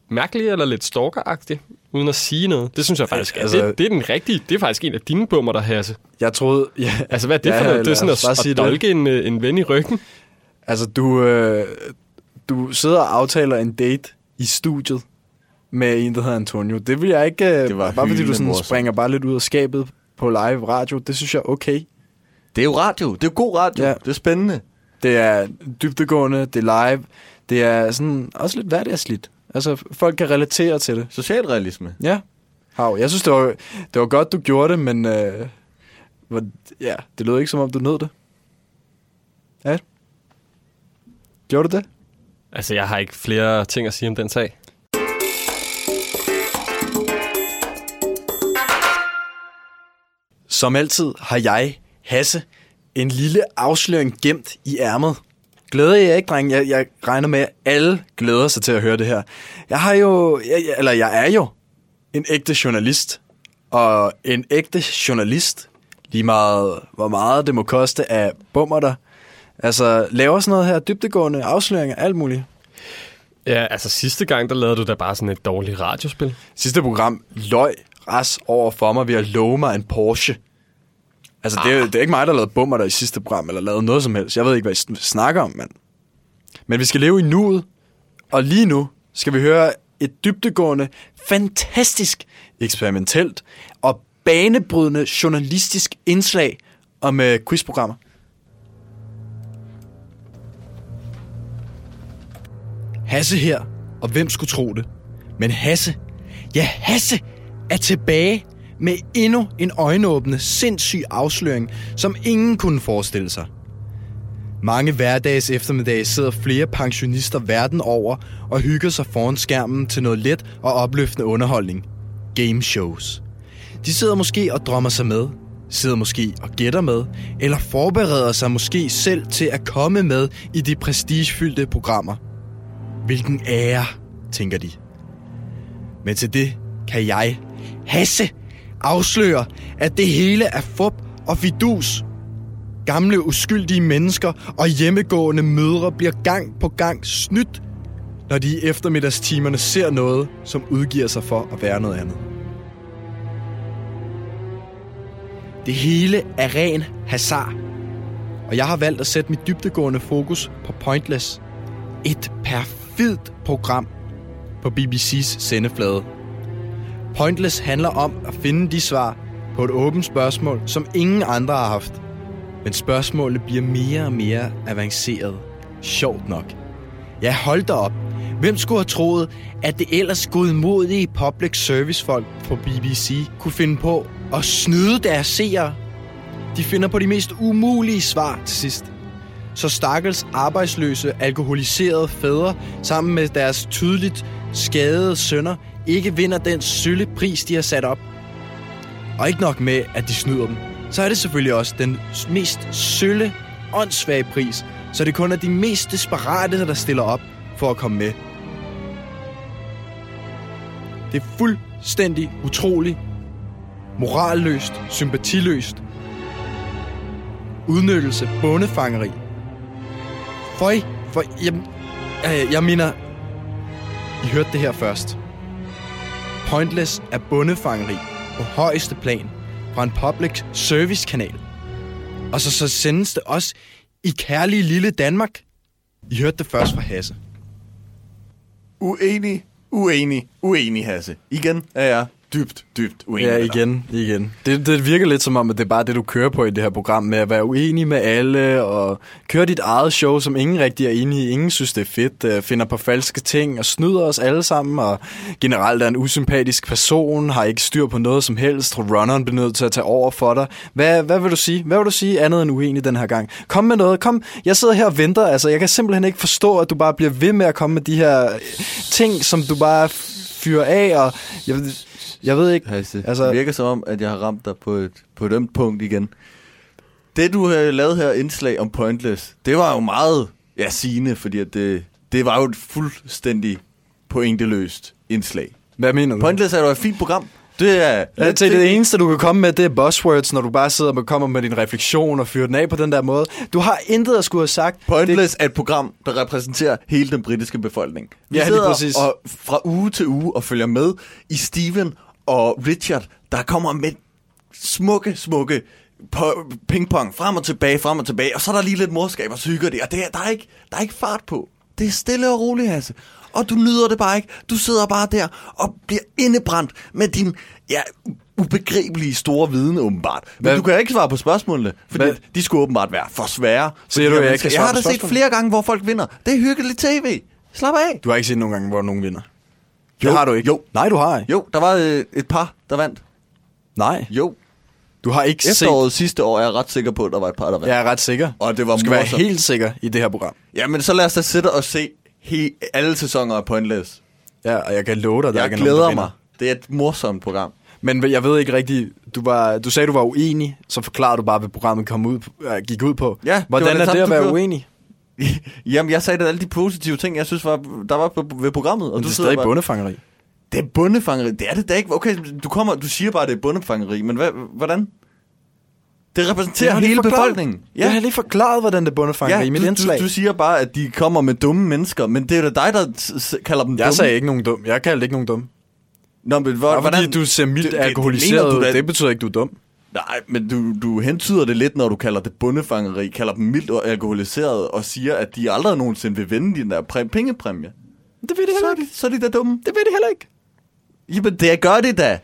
[SPEAKER 2] mærkelig eller lidt stalkeragtig, uden at sige noget. Det synes jeg faktisk, altså,
[SPEAKER 1] Altså-
[SPEAKER 2] det, det, er den rigtige, det er faktisk en af dine bummer, der Hasse.
[SPEAKER 1] Jeg troede... Ja,
[SPEAKER 2] altså, hvad er det
[SPEAKER 1] ja,
[SPEAKER 2] for noget? Det er
[SPEAKER 1] lad
[SPEAKER 2] sådan
[SPEAKER 1] os bare
[SPEAKER 2] at,
[SPEAKER 1] sige
[SPEAKER 2] at
[SPEAKER 1] det.
[SPEAKER 2] dolke en, øh, en ven i ryggen.
[SPEAKER 1] Altså, du, øh, du sidder og aftaler en date i studiet med en, der hedder Antonio. Det vil jeg ikke... Det var bare fordi du
[SPEAKER 4] hyldende
[SPEAKER 1] sådan
[SPEAKER 4] morsomt.
[SPEAKER 1] springer bare lidt ud af skabet på live radio. Det synes jeg er okay.
[SPEAKER 4] Det er jo radio. Det er jo god radio.
[SPEAKER 1] Ja.
[SPEAKER 4] Det er spændende.
[SPEAKER 1] Det er dybdegående, det er live, det er sådan også lidt hverdagsligt. Altså, folk kan relatere til det.
[SPEAKER 4] Socialrealisme.
[SPEAKER 1] Ja. Hav, jeg synes, det var, det var godt, du gjorde det, men øh, hvor, ja, det lød ikke, som om du nød det. Ja. Gjorde du det?
[SPEAKER 2] Altså, jeg har ikke flere ting at sige om den sag.
[SPEAKER 1] Som altid har jeg, Hasse, en lille afsløring gemt i ærmet. Glæder jeg ikke, drenge? Jeg, jeg regner med, at alle glæder sig til at høre det her. Jeg har jo, jeg, jeg- eller jeg er jo en ægte journalist. Og en ægte journalist, lige meget hvor meget det må koste af bummerter, altså laver sådan noget her dybtegående afsløringer, alt muligt.
[SPEAKER 2] Ja, altså sidste gang, der lavede du da bare sådan et dårligt radiospil.
[SPEAKER 1] Sidste program løg ras over for mig ved at love mig en Porsche. Altså, det er, jo- det er ikke mig, der lavede bummer der i sidste program, eller lavede noget som helst. Jeg ved ikke, hvad I sn- snakker om, mand. Men vi skal leve i nuet, og lige nu skal vi høre et dybtegående, fantastisk, eksperimentelt og banebrydende journalistisk indslag om øh, quizprogrammer. Hasse her, og hvem skulle tro det? Men Hasse, ja Hasse, er tilbage med endnu en øjenåbende, sindssyg afsløring, som ingen kunne forestille sig. Mange hverdags eftermiddage sidder flere pensionister verden over og hygger sig foran skærmen til noget let og opløftende underholdning. Game shows. De sidder måske og drømmer sig med, sidder måske og gætter med, eller forbereder sig måske selv til at komme med i de prestigefyldte programmer. Hvilken ære, tænker de. Men til det kan jeg, Hasse, afsløre, at det hele er fup og fidus. Gamle uskyldige mennesker og hjemmegående mødre bliver gang på gang snydt, når de i eftermiddagstimerne ser noget, som udgiver sig for at være noget andet. Det hele er ren hasard, og jeg har valgt at sætte mit dybtegående fokus på Pointless. Et perfidt program på BBC's sendeflade. Pointless handler om at finde de svar på et åbent spørgsmål, som ingen andre har haft. Men spørgsmålet bliver mere og mere avanceret. Sjovt nok. Ja, hold da op. Hvem skulle have troet, at det ellers godmodige public service folk på BBC kunne finde på at snyde deres seere? De finder på de mest umulige svar til sidst så stakkels arbejdsløse, alkoholiserede fædre sammen med deres tydeligt skadede sønner ikke vinder den sølle pris, de har sat op. Og ikke nok med, at de snyder dem, så er det selvfølgelig også den s- mest sølle, åndssvage pris, så det kun er de mest desperate, der stiller op for at komme med. Det er fuldstændig utroligt, moralløst, sympatiløst, udnyttelse, bondefangeri. Føj, for jeg, øh, jeg mener, I hørte det her først. Pointless er bondefangeri på højeste plan fra en public service kanal. Og så, så sendes det også i kærlige lille Danmark. I hørte det først fra Hasse.
[SPEAKER 4] Uenig, uenig, uenig, Hasse. Igen er jeg dybt, dybt uenig med dig.
[SPEAKER 1] igen. Det, det virker lidt som om, at det er bare det, du kører på i det her program, med at være uenig med alle, og køre dit eget show, som ingen rigtig er enige i, ingen synes, det er fedt, øh, finder på falske ting, og snyder os alle sammen, og generelt er en usympatisk person, har ikke styr på noget som helst, runneren bliver nødt til at tage over for dig. Hvad, hvad vil du sige? Hvad vil du sige andet end uenig den her gang? Kom med noget, kom. Jeg sidder her og venter, altså jeg kan simpelthen ikke forstå, at du bare bliver ved med at komme med de her øh, ting, som du bare fyrer af, og jeg, jeg ved ikke...
[SPEAKER 4] Hasse, altså, det virker som om, at jeg har ramt dig på et, på et ømt punkt igen. Det, du har lavet her indslag om Pointless, det var jo meget ja, sigende, fordi at det, det var jo et fuldstændig pointeløst indslag.
[SPEAKER 1] Hvad mener du?
[SPEAKER 4] Pointless er jo et fint program. Det er...
[SPEAKER 1] Ja, det, det eneste, du kan komme med, det er buzzwords, når du bare sidder og kommer med din refleksion og fyrer den af på den der måde. Du har intet at skulle have sagt.
[SPEAKER 4] Pointless det... er et program, der repræsenterer hele den britiske befolkning. Vi
[SPEAKER 1] Ja, lige
[SPEAKER 4] sidder
[SPEAKER 1] præcis.
[SPEAKER 4] Og fra uge til uge og følger med i Steven og Richard, der kommer med smukke, smukke po- pingpong frem og tilbage, frem og tilbage. Og så er der lige lidt morskab, og så hygger de. Og det, er- der, er ikke, der er ikke fart på. Det er stille og roligt, Hasse. Og du nyder det bare ikke. Du sidder bare der og bliver indebrændt med din ja, ubegribelige store viden, åbenbart. Men
[SPEAKER 1] Hvad-
[SPEAKER 4] du kan ikke svare på spørgsmålene, fordi
[SPEAKER 1] Hvad-
[SPEAKER 4] de skulle åbenbart være for svære.
[SPEAKER 1] Siger du, jeg ikke kan
[SPEAKER 4] jeg
[SPEAKER 1] svare
[SPEAKER 4] har
[SPEAKER 1] på
[SPEAKER 4] da set
[SPEAKER 1] spørgsmål?
[SPEAKER 4] flere gange, hvor folk vinder. Det er hyggeligt tv. Slap af.
[SPEAKER 1] Du har ikke set nogen gange, hvor nogen vinder.
[SPEAKER 4] Jo,
[SPEAKER 1] det har du ikke.
[SPEAKER 4] Jo.
[SPEAKER 1] Nej, du har ikke.
[SPEAKER 4] Jo, der var øh, et par, der vandt.
[SPEAKER 1] Nej.
[SPEAKER 4] Jo.
[SPEAKER 1] Du har ikke
[SPEAKER 4] Efteråret sidste år er jeg ret sikker på, at der var et par, der vandt.
[SPEAKER 1] set... Jeg er ret sikker.
[SPEAKER 4] Og det var
[SPEAKER 1] du skal være
[SPEAKER 4] morsomt.
[SPEAKER 1] helt sikker i det her program.
[SPEAKER 4] Jamen, så lad os da sidde og se he- alle sæsoner af Pointless.
[SPEAKER 1] Ja, og jeg kan love dig, der
[SPEAKER 4] Jeg
[SPEAKER 1] ikke er
[SPEAKER 4] glæder
[SPEAKER 1] nogen, der
[SPEAKER 4] mig. Det er et morsomt program.
[SPEAKER 1] Men jeg ved ikke rigtigt, du, var, du sagde, du var uenig, så forklarede du bare, hvad programmet kom ud, øh, gik ud på.
[SPEAKER 4] Ja, det
[SPEAKER 1] Hvordan
[SPEAKER 4] var det
[SPEAKER 1] er det
[SPEAKER 4] samme,
[SPEAKER 1] at
[SPEAKER 4] du
[SPEAKER 1] være
[SPEAKER 4] gjorde.
[SPEAKER 1] uenig?
[SPEAKER 4] Jamen, jeg sagde da alle de positive ting, jeg synes, var, der var på, ved programmet. Og
[SPEAKER 1] Men det er
[SPEAKER 4] sidder
[SPEAKER 1] stadig
[SPEAKER 4] bare-
[SPEAKER 1] bundefangeri.
[SPEAKER 4] Det er bundefangeri. Det er det da ikke. Okay, du, kommer, du siger bare, at det er bundefangeri, men hvad, hvordan? Det
[SPEAKER 1] Jeg
[SPEAKER 4] repræsenterer
[SPEAKER 1] har lige
[SPEAKER 4] hele
[SPEAKER 1] forklaret-
[SPEAKER 4] befolkningen.
[SPEAKER 1] Jeg har lige forklaret, hvordan det er bundefangeri i mit
[SPEAKER 4] du,
[SPEAKER 1] indslag.
[SPEAKER 4] Du, du siger bare, at de kommer med dumme mennesker, men det er da dig, der s- s- kalder dem dumme.
[SPEAKER 1] Jeg sagde ikke nogen dum. Jeg kaldte ikke nogen dum.
[SPEAKER 4] Nå, men hvor,
[SPEAKER 1] Bare fordi
[SPEAKER 4] hvordan...
[SPEAKER 1] du ser mildt
[SPEAKER 4] Det- det- det
[SPEAKER 1] alkoholiseret
[SPEAKER 4] mener du
[SPEAKER 1] ud,
[SPEAKER 4] da-
[SPEAKER 1] det betyder ikke, du er dum.
[SPEAKER 4] Nej, men du, du hentyder det lidt, når du kalder det bundefangeri, kalder dem mildt og alkoholiseret, og siger, at de aldrig nogensinde vil vinde den der præ- pengepræmie.
[SPEAKER 1] Det ved de
[SPEAKER 4] heller ikke. Så er de da dumme.
[SPEAKER 1] Det ved de heller ikke.
[SPEAKER 4] Jamen, det gør det da.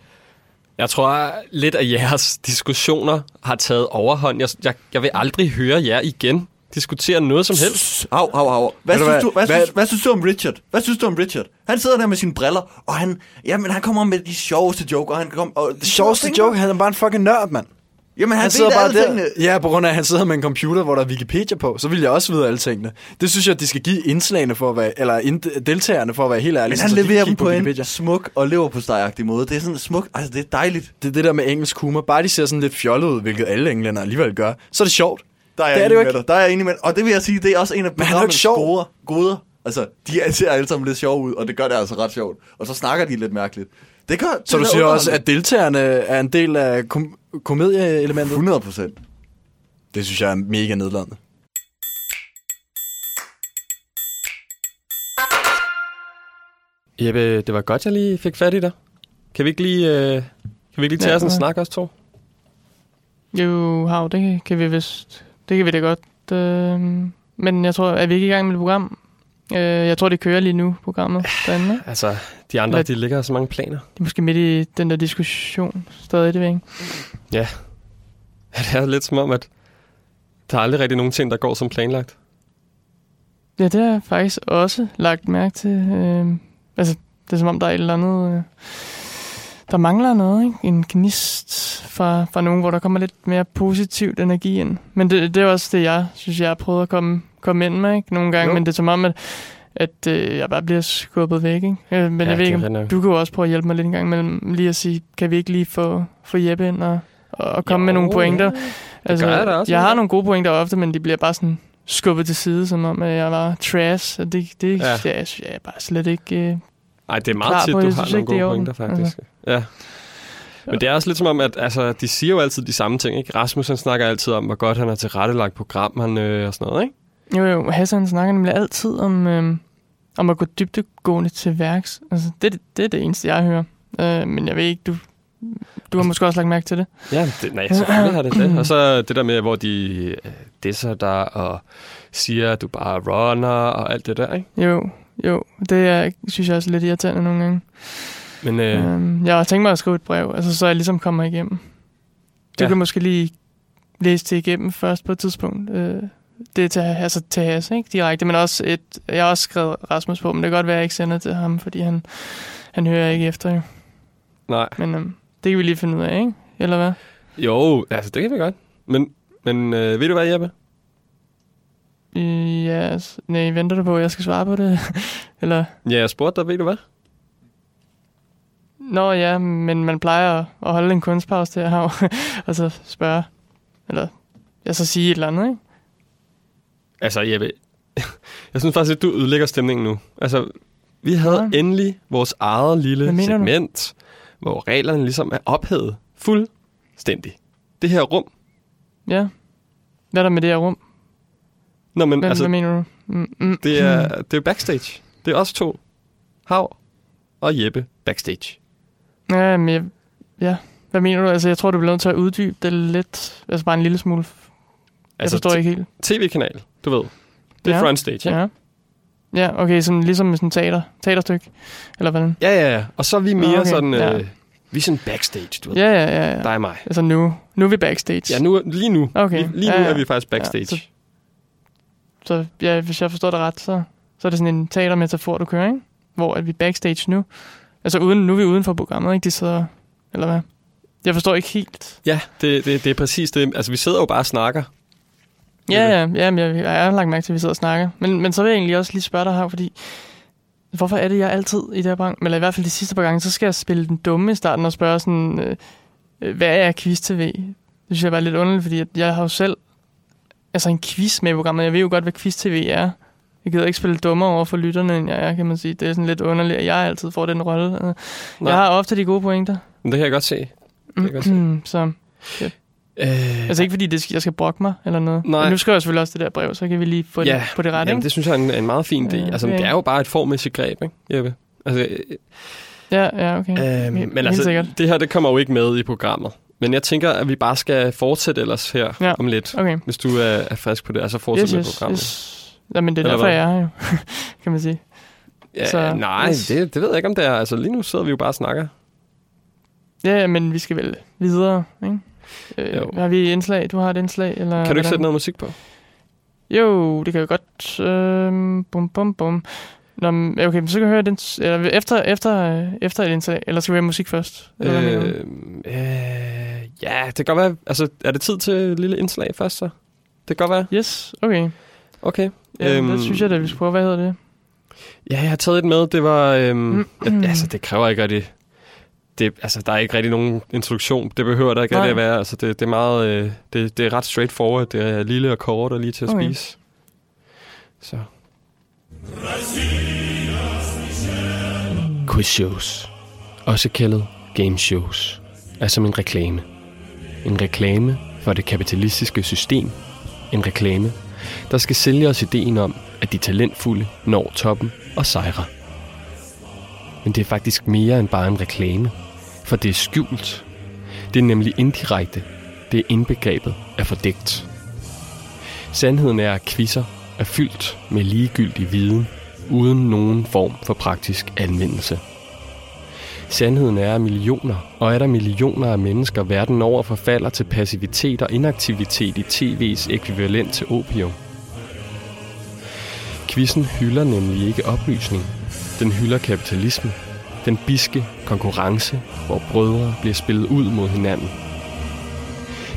[SPEAKER 2] Jeg tror lidt, at jeres diskussioner har taget overhånd. Jeg, jeg, jeg vil aldrig høre jer igen diskutere noget som helst.
[SPEAKER 4] Au, au, au. Hvad,
[SPEAKER 2] Ved du hvad?
[SPEAKER 4] synes, du, hvad,
[SPEAKER 2] Hvad-
[SPEAKER 4] Synes, hvad synes du om Richard? Hvad synes du om Richard? Han sidder der med sine briller, og han, jamen, han kommer med de sjoveste joke, og han kom... Og
[SPEAKER 1] Det sjoveste joke, han er bare en fucking nørd, mand.
[SPEAKER 4] Jamen, han ved alle tingene.
[SPEAKER 1] Ja, på grund af, at han sidder med en computer, hvor der er Wikipedia på, så vil jeg også vide alle tingene. Det synes jeg, at de skal give indslagene for at være, eller ind, deltagerne for at være helt ærlige.
[SPEAKER 4] Men
[SPEAKER 1] så-
[SPEAKER 4] han
[SPEAKER 1] så de
[SPEAKER 4] leverer
[SPEAKER 1] kan
[SPEAKER 4] dem
[SPEAKER 1] kigge
[SPEAKER 4] på
[SPEAKER 1] Wikipedia.
[SPEAKER 4] en smuk og lever på måde. Det er sådan smuk, altså det er dejligt.
[SPEAKER 1] Det er det der med engelsk humor. Bare de ser sådan lidt fjollet ud, hvilket alle englænder alligevel gør, så er det sjovt.
[SPEAKER 4] Der er jeg
[SPEAKER 1] det er
[SPEAKER 4] enig
[SPEAKER 1] det jo
[SPEAKER 4] med
[SPEAKER 1] ikke.
[SPEAKER 4] dig. Der er jeg enig med dig. Og det vil jeg sige, det er også en af
[SPEAKER 1] Men han er jo ikke
[SPEAKER 4] programmets
[SPEAKER 1] sjov.
[SPEAKER 4] gode goder. Altså, de er- ser alle sammen lidt sjove ud, og det gør det altså ret sjovt. Og så snakker de lidt mærkeligt. Det gør
[SPEAKER 1] Så du siger også, at deltagerne er en del af kom- komedieelementet?
[SPEAKER 4] 100 procent.
[SPEAKER 1] Det synes jeg er mega nedladende.
[SPEAKER 2] Jeppe, det var godt, jeg lige fik fat i dig. Kan vi ikke lige, øh, kan vi ikke lige tage
[SPEAKER 3] Ja.
[SPEAKER 2] os en snak, os to?
[SPEAKER 3] Jo, hav, det kan vi vist. Det kan vi da godt. Øh, men jeg tror, er vi ikke i gang med et program? Øh, jeg tror, det kører lige nu, programmet derinde. ikke?
[SPEAKER 2] Altså, de andre,
[SPEAKER 3] Hvad-
[SPEAKER 2] de ligger så mange planer.
[SPEAKER 3] Det er måske midt i den der diskussion stadig, det ved jeg ikke.
[SPEAKER 2] Ja. Det er lidt som om, at der er aldrig rigtig nogen ting, der går som planlagt.
[SPEAKER 3] Ja, det har jeg faktisk også lagt mærke til. Øh, altså, det er som om, der er et eller andet... Øh, der mangler noget, ikke? En gnist fra, fra nogen, hvor der kommer lidt mere positivt energi ind. Men det, det er også det, jeg synes, jeg har prøvet at komme, komme ind med, ikke? Nogle gange,
[SPEAKER 2] Jo.
[SPEAKER 3] jo. men det er som om, at, at øh, jeg bare bliver skubbet væk, ikke? Øh, men
[SPEAKER 2] Ja, det
[SPEAKER 3] ja, jeg ved
[SPEAKER 2] er
[SPEAKER 3] ikke,
[SPEAKER 2] rigtig
[SPEAKER 3] om,
[SPEAKER 2] nok.
[SPEAKER 3] du kan jo også prøve at hjælpe mig lidt en gang mellem lige at sige, kan vi ikke lige få, få Jeppe ind og, og og komme jo, med nogle
[SPEAKER 2] Jo,
[SPEAKER 3] pointer? Altså,
[SPEAKER 2] ja. Det gør jeg da også,
[SPEAKER 3] Jeg
[SPEAKER 2] ja.
[SPEAKER 3] har nogle gode pointer ofte, men de bliver bare sådan skubbet til side, som om at jeg var trash, og det, det
[SPEAKER 2] Ja.
[SPEAKER 3] ja. jeg, jeg, jeg er bare slet ikke... Øh,
[SPEAKER 2] Nej, det er
[SPEAKER 3] klar
[SPEAKER 2] meget tit,
[SPEAKER 3] på.
[SPEAKER 2] du
[SPEAKER 3] Jeg
[SPEAKER 2] har
[SPEAKER 3] synes
[SPEAKER 2] nogle
[SPEAKER 3] ikke, det er i
[SPEAKER 2] gode
[SPEAKER 3] orden.
[SPEAKER 2] pointer, faktisk.
[SPEAKER 3] Altså.
[SPEAKER 2] Ja. Men det er også lidt som om, at altså, de siger jo altid de samme ting. Ikke? Rasmus han snakker altid om, hvor godt han har tilrettelagt program han, øh, og sådan noget. Ikke?
[SPEAKER 3] Jo, jo, Hassan snakker nemlig altid om, øh, om at gå dybtegående til værks. Altså, det, det er det eneste, jeg hører. Øh, men jeg ved ikke, du, du har måske også lagt mærke til det.
[SPEAKER 2] Ja, det, nej, selvfølgelig har det det. Og så det der med, hvor de øh, disser dig og siger, at du bare runner og alt det der. Ikke?
[SPEAKER 3] Jo, jo, det er, synes jeg også er lidt irriterende nogle gange.
[SPEAKER 2] Men øh,
[SPEAKER 3] Øhm, jeg har tænkt mig at skrive et brev, altså, så jeg ligesom kommer igennem. Du
[SPEAKER 2] Ja.
[SPEAKER 3] ja. kan måske lige læse det igennem først på et tidspunkt. Øh, det er til, altså til Hasse, ikke direkte, men også et, jeg har også skrevet Rasmus på, men det kan godt være, at jeg ikke sender det til ham, fordi han, han hører ikke efter. Jo.
[SPEAKER 2] nej.
[SPEAKER 3] Men øhm, det kan vi lige finde ud af, ikke? Eller hvad?
[SPEAKER 2] Jo, altså det kan vi godt. Men, men øh, ved du hvad, Jeppe?
[SPEAKER 3] Øh, Ja, yes. nej, venter du på, at jeg skal svare på det? Eller?
[SPEAKER 2] Ja, jeg spurgte dig, ved du hvad?
[SPEAKER 3] Nå ja, men man plejer at- at holde en kunstpause der, hav, og så spørge, eller ja, så sige et eller andet, ikke?
[SPEAKER 2] Altså, Jeppe, jeg synes faktisk, at du ødelægger stemningen nu. Altså, vi havde endelig vores eget lille
[SPEAKER 3] Hvad mener du?
[SPEAKER 2] segment, hvor reglerne ligesom er ophedet fuldstændig. Det her rum,
[SPEAKER 3] Ja. Hvad er der med det her rum?
[SPEAKER 2] Nå, men
[SPEAKER 3] Hvad,
[SPEAKER 2] altså-
[SPEAKER 3] hvad mener du? Mm, mm,
[SPEAKER 2] det er, det er backstage. Det er os to, Hav og Jeppe, backstage.
[SPEAKER 3] Ja, men jeg, ja. Hvad mener du? Altså, jeg tror, du bliver nødt til at uddybe det lidt. Altså, bare en lille smule. Jeg altså, forstår
[SPEAKER 2] t-
[SPEAKER 3] ikke helt.
[SPEAKER 2] TV-kanal, du ved. Det er
[SPEAKER 3] Ja.
[SPEAKER 2] ja. frontstage, ikke?
[SPEAKER 3] Ja. Ja, okay, sådan, ligesom med sådan en teater, teaterstykke, eller hvordan?
[SPEAKER 2] Ja, ja, ja. Og så er vi mere
[SPEAKER 3] Okay,
[SPEAKER 2] okay, sådan...
[SPEAKER 3] ja.
[SPEAKER 2] Ja. Øh, vi er sådan backstage, du ved.
[SPEAKER 3] Ja, ja, ja. ja.
[SPEAKER 2] Dig og mig.
[SPEAKER 3] Altså nu, nu er vi backstage.
[SPEAKER 2] Ja, nu, lige nu.
[SPEAKER 3] Okay.
[SPEAKER 2] Lige, lige
[SPEAKER 3] ja,
[SPEAKER 2] ja, nu
[SPEAKER 3] ja.
[SPEAKER 2] er vi faktisk
[SPEAKER 3] Ja,
[SPEAKER 2] backstage.
[SPEAKER 3] så, så ja, hvis jeg forstår det ret, så, så er det sådan en teatermetafor, du kører, ikke? Hvor at vi er backstage nu. Altså uden, nu er vi uden for programmet, ikke? De sidder, eller hvad? Jeg forstår ikke helt.
[SPEAKER 2] Ja, det, det, det er præcis det. Altså, vi sidder jo bare og snakker.
[SPEAKER 3] Ja, ja, ja, men jeg, jeg har lagt mærke til, at vi sidder og snakker. Men, men så vil jeg egentlig også lige spørge dig her, fordi hvorfor er det, jeg altid i det her program, eller i hvert fald de sidste par gange, så skal jeg spille den dumme i starten og spørge sådan, øh, øh, hvad er quiz-tv? Det synes jeg bare er lidt underligt, fordi at jeg har jo selv altså en quiz med i programmet. Jeg ved jo godt, hvad quiz-tv er. Jeg gider ikke spille dummere over for lytterne, end jeg er, kan man sige. Det er sådan lidt underligt, at jeg altid får den rolle. Øh,
[SPEAKER 2] Nej.
[SPEAKER 3] Jeg har ofte de gode pointer.
[SPEAKER 2] Men det kan jeg godt se. Det kan jeg godt se.
[SPEAKER 3] Mm, så, ja.
[SPEAKER 2] øh,
[SPEAKER 3] altså ikke fordi, det skal, jeg skal brokke mig eller noget.
[SPEAKER 2] Nej.
[SPEAKER 3] Men nu skriver jeg selvfølgelig også det der brev, så kan vi lige få det,
[SPEAKER 2] ja,
[SPEAKER 3] på det rette.
[SPEAKER 2] jamen,
[SPEAKER 3] ikke?
[SPEAKER 2] det synes jeg er en, en meget fin idé.
[SPEAKER 3] Øh,
[SPEAKER 2] altså,
[SPEAKER 3] Mm. ja.
[SPEAKER 2] det er jo bare et formæssigt greb, ikke, Jeppe? Altså, øh,
[SPEAKER 3] Ja, ja, okay.
[SPEAKER 2] Øhm,
[SPEAKER 3] Helt-
[SPEAKER 2] men
[SPEAKER 3] helt
[SPEAKER 2] altså,
[SPEAKER 3] sikkert.
[SPEAKER 2] det her det kommer jo ikke med i programmet. Men jeg tænker, at vi bare skal fortsætte ellers her
[SPEAKER 3] Ja,
[SPEAKER 2] ja. om lidt.
[SPEAKER 3] okay.
[SPEAKER 2] Hvis du er, er frisk på det, altså fortsætte
[SPEAKER 3] Yes,
[SPEAKER 2] med
[SPEAKER 3] yes,
[SPEAKER 2] programmet.
[SPEAKER 3] yes. Jamen, det er
[SPEAKER 2] Eller
[SPEAKER 3] derfor,
[SPEAKER 2] hvad?
[SPEAKER 3] jeg er her jo, kan man sige.
[SPEAKER 2] Ja, så, nej,
[SPEAKER 3] yes.
[SPEAKER 2] det, det ved jeg ikke, om det er. Altså, lige nu sidder vi jo bare og snakker.
[SPEAKER 3] Ja, ja, men vi skal vel videre, ikke? Øh,
[SPEAKER 2] Jo.
[SPEAKER 3] har vi et indslag? Du har et indslag? Eller
[SPEAKER 2] Kan du ikke
[SPEAKER 3] hvordan?
[SPEAKER 2] sætte noget musik på?
[SPEAKER 3] Jo, det kan jeg godt. Øhm, bum, bum, bum. Nå, men, okay, men så kan vi høre den, eller efter, efter, øh, efter et indslag, eller skal vi høre musik først? Eller hvad mener du?
[SPEAKER 2] Øh, øh, ja, det kan godt være. Altså, er det tid til et lille indslag først, så? Det kan godt være.
[SPEAKER 3] Yes, okay.
[SPEAKER 2] Okay.
[SPEAKER 3] Ja, øhm, det synes jeg da, vi skulle prøve. Hvad hedder det?
[SPEAKER 2] Ja, jeg har taget et med. Det var... Øhm, ja, altså, det kræver ikke rigtig... Det, altså, der er ikke rigtig nogen introduktion. Det behøver der ikke
[SPEAKER 3] Nej.
[SPEAKER 2] rigtig at være. Altså, det, det er meget... Øh, det, det er ret straightforward. Det er lille og kort og lige til at
[SPEAKER 3] Okay.
[SPEAKER 2] okay. spise. Så. Quiz shows, også kaldet game shows, er som en reklame. En reklame for det kapitalistiske system. En reklame, der skal sælge os ideen om, at de talentfulde når toppen og sejrer. Men det er faktisk mere end bare en reklame, for det er skjult. Det er nemlig indirekte. Det er indbegrebet af fordækt. Sandheden er, at quizzer er fyldt med ligegyldig viden, uden nogen form for praktisk anvendelse. Sandheden er, at millioner og er der millioner af mennesker verden over forfalder til passivitet og inaktivitet i tv's ekvivalent til opium. Quizzen hylder nemlig ikke oplysning. Den hylder kapitalisme. Den biske konkurrence, hvor brødre bliver spillet ud mod hinanden.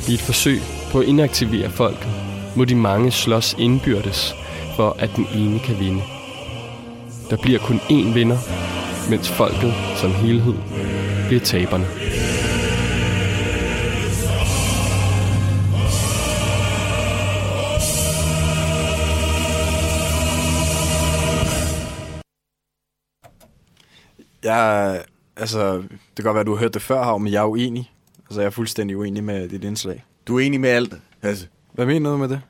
[SPEAKER 2] I et forsøg på at inaktivere folket, må de mange slås indbyrdes, for at den ene kan vinde. Der bliver kun én vinder, mens folket som helhed bliver taberne.
[SPEAKER 1] Jeg, altså, det kan godt være, du har hørt det før, Hav, men jeg er uenig. Altså, jeg er fuldstændig uenig med dit indslag.
[SPEAKER 4] Du er enig med alt, Hasse.
[SPEAKER 1] Hvad mener du med det?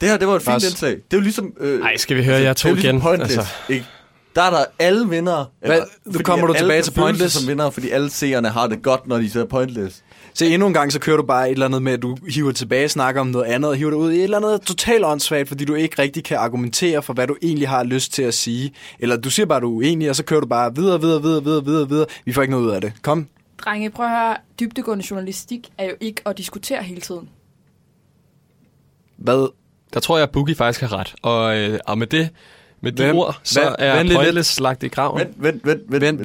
[SPEAKER 4] Det her, det var et fint
[SPEAKER 1] Lars.
[SPEAKER 4] indslag. Det er jo ligesom... Øh,
[SPEAKER 2] Ej, skal vi høre jer to
[SPEAKER 4] det er jo ligesom
[SPEAKER 2] igen?
[SPEAKER 4] Pointless,
[SPEAKER 2] Altså.
[SPEAKER 4] ikke? Der er der alle vinder.
[SPEAKER 1] Hvad? Nu kommer du tilbage til Pointless.
[SPEAKER 4] som vinder, fordi alle seerne har det godt, når de ser Pointless.
[SPEAKER 1] Se, endnu en gang, så kører du bare et eller andet med, at du hiver tilbage, snakker om noget andet, og hiver det ud i et eller andet totalt åndssvagt, fordi du ikke rigtig kan argumentere for, hvad du egentlig har lyst til at sige. Eller du siger bare, at du er uenig, og så kører du bare videre, videre, videre, videre, videre, videre. Vi får ikke noget ud af det. Kom.
[SPEAKER 18] Drenge, prøv at høre. Dybdegående journalistik er jo ikke at diskutere hele tiden.
[SPEAKER 1] Hvad?
[SPEAKER 2] Der tror jeg, at Boogie faktisk har ret. Og, øh, og med det, med de
[SPEAKER 1] Hvem-
[SPEAKER 2] ord, så
[SPEAKER 1] hvad-
[SPEAKER 2] er
[SPEAKER 1] vent lidt,
[SPEAKER 2] Pointless
[SPEAKER 1] lidt.
[SPEAKER 2] slagt i graven.
[SPEAKER 4] Vent, vent, vent,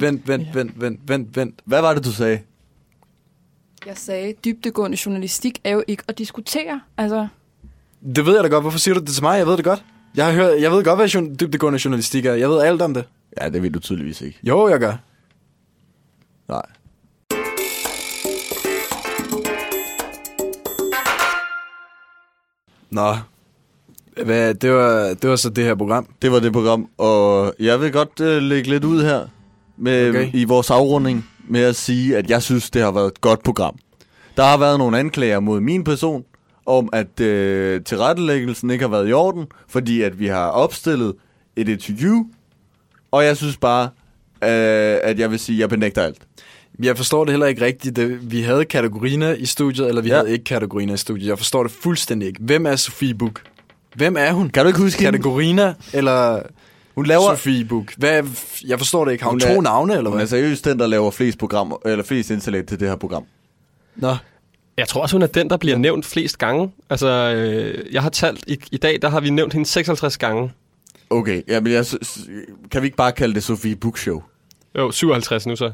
[SPEAKER 1] vent, vent, vent, vent, vent, vent, vent.
[SPEAKER 4] Hvad var det, du sagde?
[SPEAKER 18] Jeg sagde, dybdegående journalistik er jo ikke at diskutere. Altså,
[SPEAKER 1] Det ved jeg da godt. Hvorfor siger du det til mig? Jeg ved det godt. Jeg, har hørt, jeg ved godt, hvad jour- dybdegående journalistik er. Jeg ved alt om det.
[SPEAKER 4] Ja, det ved du tydeligvis ikke.
[SPEAKER 1] Jo, jeg gør.
[SPEAKER 4] Nej.
[SPEAKER 1] Nå. Hvad, det, var, det var så det her program.
[SPEAKER 4] Det var det program, og jeg vil godt øh, lægge lidt ud her med, okay.
[SPEAKER 1] Okay.
[SPEAKER 4] i vores afrunding. med at sige, at jeg synes, det har været et godt program. Der har været nogle anklager mod min person om, at øh, tilrettelæggelsen ikke har været i orden, fordi at vi har opstillet et interview, og jeg synes bare, øh, at jeg vil sige, at jeg benægter alt.
[SPEAKER 1] Jeg forstår det heller ikke rigtigt. Det- Vi havde kategorier i studiet, eller vi ja. havde ikke kategorier i studiet. Jeg forstår det fuldstændig ikke. Hvem er Sofie Buk? Hvem er hun? Kan
[SPEAKER 4] du ikke huske
[SPEAKER 1] Kategorier eller
[SPEAKER 4] hun laver...
[SPEAKER 1] Sofie Buk? Hvad, jeg forstår det ikke. Har hun, hun to navne, eller
[SPEAKER 4] hun
[SPEAKER 1] hvad?
[SPEAKER 4] er seriøst den, der laver flest, programmer, eller flest indsalat til det her program.
[SPEAKER 1] Nå.
[SPEAKER 2] Jeg tror også, hun er den, der bliver nævnt flest gange. Altså, øh, jeg har talt, i, i dag der har vi nævnt hende 56 gange.
[SPEAKER 4] Okay, ja, men jeg, synes- kan vi ikke bare kalde det Sofie Buk Show?
[SPEAKER 2] Jo, 57 nu så.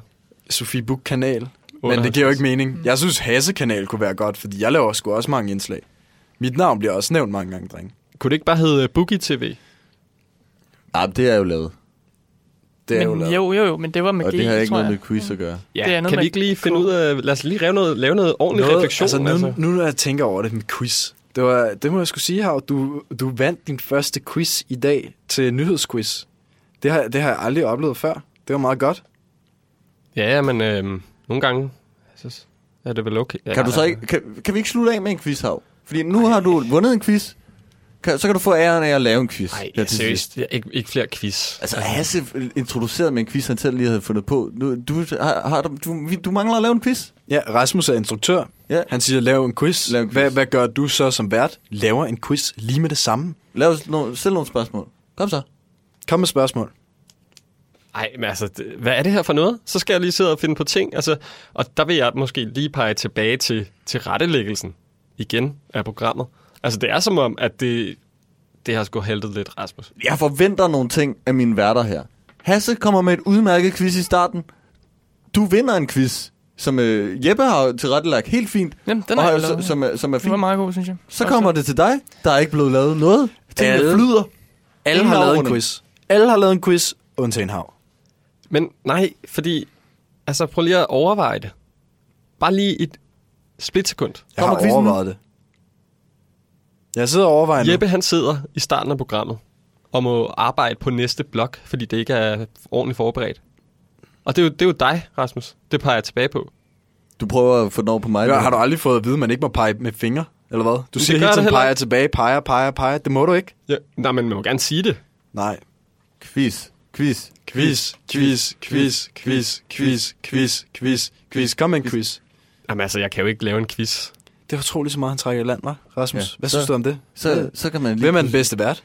[SPEAKER 1] Sofie Buk Kanal. Men det giver jo ikke mening. Jeg synes, Hasse Kanal kunne være godt, fordi jeg laver sgu også mange indslag. Mit navn bliver også nævnt mange gange, dreng.
[SPEAKER 2] Kunne det ikke bare hedde Boogie TV?
[SPEAKER 4] Ja, det er jo lavet.
[SPEAKER 1] Det er
[SPEAKER 3] men,
[SPEAKER 1] jo lavet.
[SPEAKER 3] Jo, jo, jo, men det var med
[SPEAKER 4] Og
[SPEAKER 3] G,
[SPEAKER 4] det har ikke
[SPEAKER 3] tror
[SPEAKER 4] noget
[SPEAKER 3] jeg.
[SPEAKER 4] med quiz at gøre.
[SPEAKER 2] Ja,
[SPEAKER 3] Det er
[SPEAKER 2] det
[SPEAKER 3] noget
[SPEAKER 2] kan
[SPEAKER 3] med
[SPEAKER 2] vi ikke lige finde ud af... Lad os lige lave noget, lave noget ordentlig noget, refleksion.
[SPEAKER 1] Altså, nu, altså. nu når jeg tænker over det med quiz, det, var, det må jeg skulle sige, Hav, du, du vandt din første quiz i dag til nyhedsquiz. Det har, det har jeg aldrig oplevet før. Det var meget godt.
[SPEAKER 2] Ja, ja, men øh, nogle gange så er det vel okay. Ja,
[SPEAKER 4] Kan, du så ikke, kan, kan vi ikke slutte af med en quiz, Hav? Fordi nu har du vundet en quiz. Kan, så kan du få æren af at lave en quiz. Nej,
[SPEAKER 2] Ja, seriøst, ja, ikke, ikke flere quiz.
[SPEAKER 4] Altså, Hasse introducerede med en quiz, han selv lige havde fundet på. Nu, du, har, har, du, du, vi- du mangler at lave en quiz.
[SPEAKER 1] Ja, Rasmus er instruktør.
[SPEAKER 4] Ja.
[SPEAKER 1] Han siger, lav en quiz. Lav en quiz. Hvad, hvad gør du så som vært? Laver en quiz lige med det samme.
[SPEAKER 4] Lav no, selv nogle spørgsmål. Kom så.
[SPEAKER 1] Kom med spørgsmål.
[SPEAKER 2] Ej, men altså, det- hvad er det her for noget? Så skal jeg lige sidde og finde på ting. Altså, og der vil jeg måske lige pege tilbage til, til rettelæggelsen igen af programmet. Altså, det er som om, at det, det har sgu haltet lidt, Rasmus.
[SPEAKER 4] Jeg forventer nogle ting af mine værter her. Hasse kommer med et udmærket quiz i starten. Du vinder en quiz, som øh, Jeppe har tilrettelagt helt fint.
[SPEAKER 3] Jamen, den
[SPEAKER 4] og
[SPEAKER 3] har
[SPEAKER 4] har-
[SPEAKER 3] jeg lavet.
[SPEAKER 4] som, som, er, som er
[SPEAKER 3] Det
[SPEAKER 4] fint.
[SPEAKER 3] var meget god, synes jeg.
[SPEAKER 4] Så kommer det til dig. Der er ikke blevet lavet noget. Tingene
[SPEAKER 1] Alle-
[SPEAKER 4] flyder.
[SPEAKER 1] Alle
[SPEAKER 4] Ingen
[SPEAKER 1] har lavet en
[SPEAKER 4] afrunding.
[SPEAKER 1] quiz. Alle har lavet en quiz, undtagen Hav.
[SPEAKER 2] Men nej, fordi... Altså, prøv lige at overveje det. Bare lige et splitsekund.
[SPEAKER 1] Jeg har overvejet det. Jeg sidder og overvejer nu.
[SPEAKER 2] Jeppe, han sidder i starten af programmet og må arbejde på næste blok, fordi det ikke er ordentligt forberedt. Og det er jo, det er jo dig, Rasmus. Det peger jeg tilbage på.
[SPEAKER 4] Du prøver at få den over på mig.
[SPEAKER 1] Ja, har du aldrig fået at vide, at man ikke må pege med fingre, eller hvad? Du
[SPEAKER 2] Det
[SPEAKER 1] siger
[SPEAKER 2] gør
[SPEAKER 1] hele
[SPEAKER 2] det
[SPEAKER 1] tiden,
[SPEAKER 2] heller
[SPEAKER 1] peger
[SPEAKER 2] ikke.
[SPEAKER 1] tilbage, peger, peger, peger. Det må du ikke.
[SPEAKER 2] Ja, nej, men man må gerne sige det.
[SPEAKER 1] Nej.
[SPEAKER 4] Quiz. Quiz.
[SPEAKER 1] Quiz, quiz, quiz, quiz, quiz, quiz, quiz, quiz. Kom med en quiz.
[SPEAKER 2] Jamen altså, jeg kan jo ikke lave en quiz.
[SPEAKER 1] Det var utroligt så meget, han trækker i land, var Rasmus,
[SPEAKER 4] Ja.
[SPEAKER 1] ja, hvad
[SPEAKER 4] Så-
[SPEAKER 1] synes du om det?
[SPEAKER 4] Så, så kan man lige
[SPEAKER 1] Hvem er den bedste vært?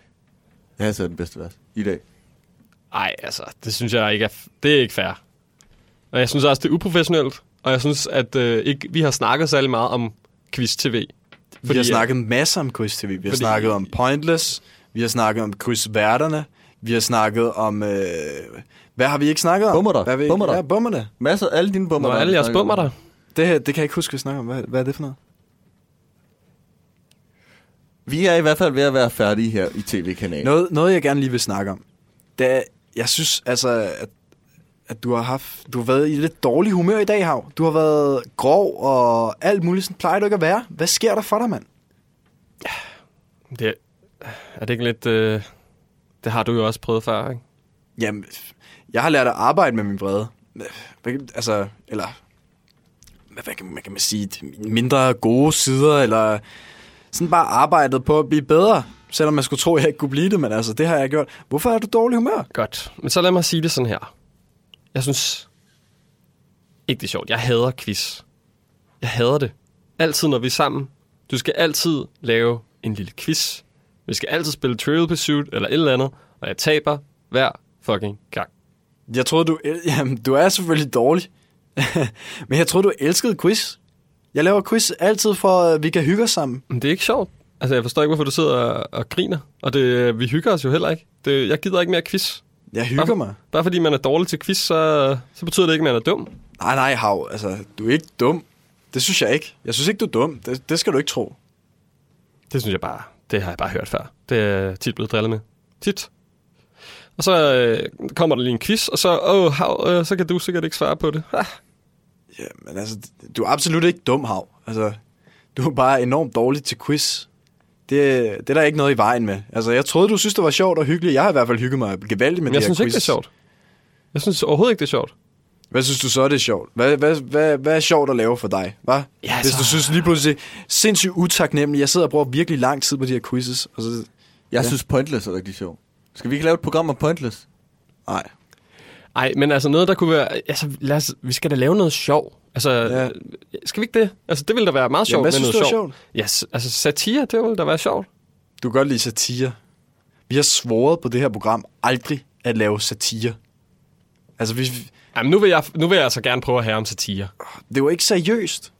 [SPEAKER 4] Hasse er den bedste vært i dag.
[SPEAKER 2] Nej, altså, det synes jeg ikke er... f- Det er ikke fair. Og jeg synes også, det er uprofessionelt. Og jeg synes, at øh, ikke, vi har snakket særlig meget om quiz-tv.
[SPEAKER 1] Vi
[SPEAKER 2] øh,
[SPEAKER 1] har snakket masser om quiz TV. Vi har
[SPEAKER 2] Fordi-
[SPEAKER 1] snakket om Pointless. Vi har snakket om quizværterne. Vi har snakket om... Øh, hvad har vi ikke snakket om?
[SPEAKER 4] Bummerter.
[SPEAKER 1] Hvad har vi,
[SPEAKER 4] Bummerter.
[SPEAKER 1] Ja, bummerne.
[SPEAKER 4] Masser alle dine bummer.
[SPEAKER 2] Nå, alle jeres bummer der.
[SPEAKER 1] Det, her, det kan jeg ikke huske, vi snakker om. Hvad, hvad er det for noget?
[SPEAKER 4] Vi er i hvert fald ved at være færdige her i tv-kanalen.
[SPEAKER 1] Noget, noget jeg gerne lige vil snakke om, det er, jeg synes altså, at, at du har haft, du har været i lidt dårlig humør i dag, Hav. Du har været grov og alt muligt, sådan plejer du ikke at være. Hvad sker der for dig, mand?
[SPEAKER 2] Det er, er det ikke lidt... Øh, det har du jo også prøvet før, ikke?
[SPEAKER 1] Jamen, jeg har lært at arbejde med min vrede. Hvad kan- Altså, eller, hvad, hvad kan, man, kan man sige, de mindre gode sider, eller sådan bare arbejdet på at blive bedre, selvom man skulle tro, at jeg ikke kunne blive det, men altså, det har jeg gjort. Hvorfor er du dårlig humør?
[SPEAKER 2] Godt. Men så lad mig sige det sådan her. Jeg synes ikke, det er sjovt. Jeg hader quiz. Jeg hader det. Altid, når vi er sammen. Du skal altid lave en lille quiz. Vi skal altid spille Trivial Pursuit eller et eller andet. Og jeg taber hver fucking gang.
[SPEAKER 1] Jeg troede, du... el- Jamen, du er selvfølgelig dårlig. Men jeg troede, du elskede quiz. Jeg laver quiz altid for, at vi kan hygge os sammen.
[SPEAKER 2] Men det er ikke sjovt. Altså, jeg forstår ikke, hvorfor du sidder og, og griner. Og det, vi hygger os jo heller ikke. Det, jeg gider ikke mere quiz.
[SPEAKER 1] Jeg hygger
[SPEAKER 2] bare,
[SPEAKER 1] mig.
[SPEAKER 2] Bare fordi man er dårlig til quiz, så, så betyder det ikke, at man er dum.
[SPEAKER 1] Nej, nej, Hav. Altså, du er ikke dum. Det synes jeg ikke. Jeg synes ikke, du er dum. Det, det skal du ikke tro.
[SPEAKER 2] Det synes jeg bare, det har jeg bare hørt før. Det er tit blevet drillet med. Tit. Og så øh, kommer der lige en quiz, og så, åh, hav, øh, så kan du sikkert ikke svare på det. Ah,
[SPEAKER 1] Ja, men altså, du er absolut ikke dum, Hav. Altså, du er bare enormt dårlig til quiz. Det, det er der ikke noget i vejen med. Altså, jeg troede, du synes, det var sjovt og hyggeligt. Jeg har i hvert fald hygget mig gevaldigt med
[SPEAKER 2] men jeg
[SPEAKER 1] det her
[SPEAKER 2] synes
[SPEAKER 1] quiz.
[SPEAKER 2] ikke, det er sjovt. Jeg synes overhovedet ikke, det er sjovt.
[SPEAKER 1] Hvad synes du så, det er sjovt? Hvad, hvad, hvad, hvad er sjovt at lave for dig, hva? Ja, Hvis
[SPEAKER 4] så-
[SPEAKER 1] du synes lige pludselig, sindssygt utaknemmelig, jeg sidder og bruger virkelig lang tid på de her quizzes. Og så,
[SPEAKER 4] Jeg synes, Pointless er rigtig sjov. Skal vi ikke lave et program af Pointless?
[SPEAKER 1] Nej.
[SPEAKER 2] Nej, men altså noget, der kunne være... Altså, lad os, vi skal da lave noget sjov. Altså, ja. skal vi ikke det? Altså, det ville da være meget
[SPEAKER 1] Jamen,
[SPEAKER 2] sjovt
[SPEAKER 1] hvad
[SPEAKER 2] med
[SPEAKER 1] synes
[SPEAKER 2] noget
[SPEAKER 1] du er
[SPEAKER 2] sjovt. Ja, s- altså satire, det ville da være sjovt.
[SPEAKER 1] Du kan godt lide satire. Vi har svoret på det her program aldrig at lave satire. Altså, vi...
[SPEAKER 2] Jamen, nu vil jeg, nu vil jeg altså gerne prøve at have om satire.
[SPEAKER 1] Det er jo ikke seriøst.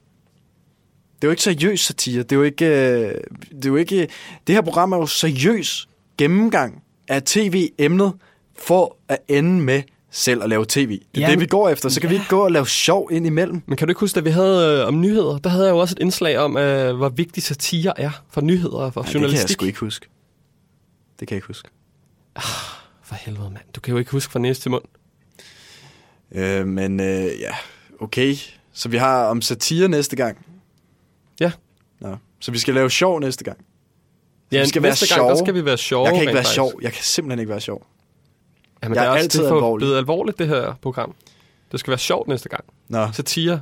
[SPEAKER 1] Det er jo ikke seriøs satire. Det er jo ikke... øh, Det, er jo ikke, det her program er jo seriøs gennemgang af tv-emnet for at ende med selv at lave tv. Det er
[SPEAKER 2] Ja,
[SPEAKER 1] det,
[SPEAKER 2] men-
[SPEAKER 1] vi går efter. Så kan vi ikke gå og lave sjov ind imellem.
[SPEAKER 2] Men kan du ikke huske, da vi havde øh, om nyheder, der havde jeg jo også et indslag om, øh, hvor vigtig satire er for nyheder og for
[SPEAKER 1] Ej, det kan jeg
[SPEAKER 2] journalistik.
[SPEAKER 1] sgu ikke huske. Det kan jeg ikke huske.
[SPEAKER 2] For helvede, mand. Du kan jo ikke huske fra næste til mund.
[SPEAKER 1] Øh, men øh, ja, okay. Så vi har om satire næste gang.
[SPEAKER 2] Ja.
[SPEAKER 1] Nå. Så vi skal lave sjov næste gang. Så
[SPEAKER 2] Ja,
[SPEAKER 1] vi skal
[SPEAKER 2] næste
[SPEAKER 1] være
[SPEAKER 2] gang, der
[SPEAKER 1] sjove.
[SPEAKER 2] skal vi være sjove,
[SPEAKER 1] Jeg kan ikke
[SPEAKER 2] rent
[SPEAKER 1] være
[SPEAKER 2] faktisk.
[SPEAKER 1] sjov. Jeg kan simpelthen ikke være sjov.
[SPEAKER 2] Jamen,
[SPEAKER 1] jeg
[SPEAKER 2] det
[SPEAKER 1] er,
[SPEAKER 2] er, også,
[SPEAKER 1] altid
[SPEAKER 2] det er for-
[SPEAKER 1] alvorlig.
[SPEAKER 2] blevet alvorligt, det her program. Det skal være sjovt næste gang.
[SPEAKER 1] Nå.
[SPEAKER 2] Satire.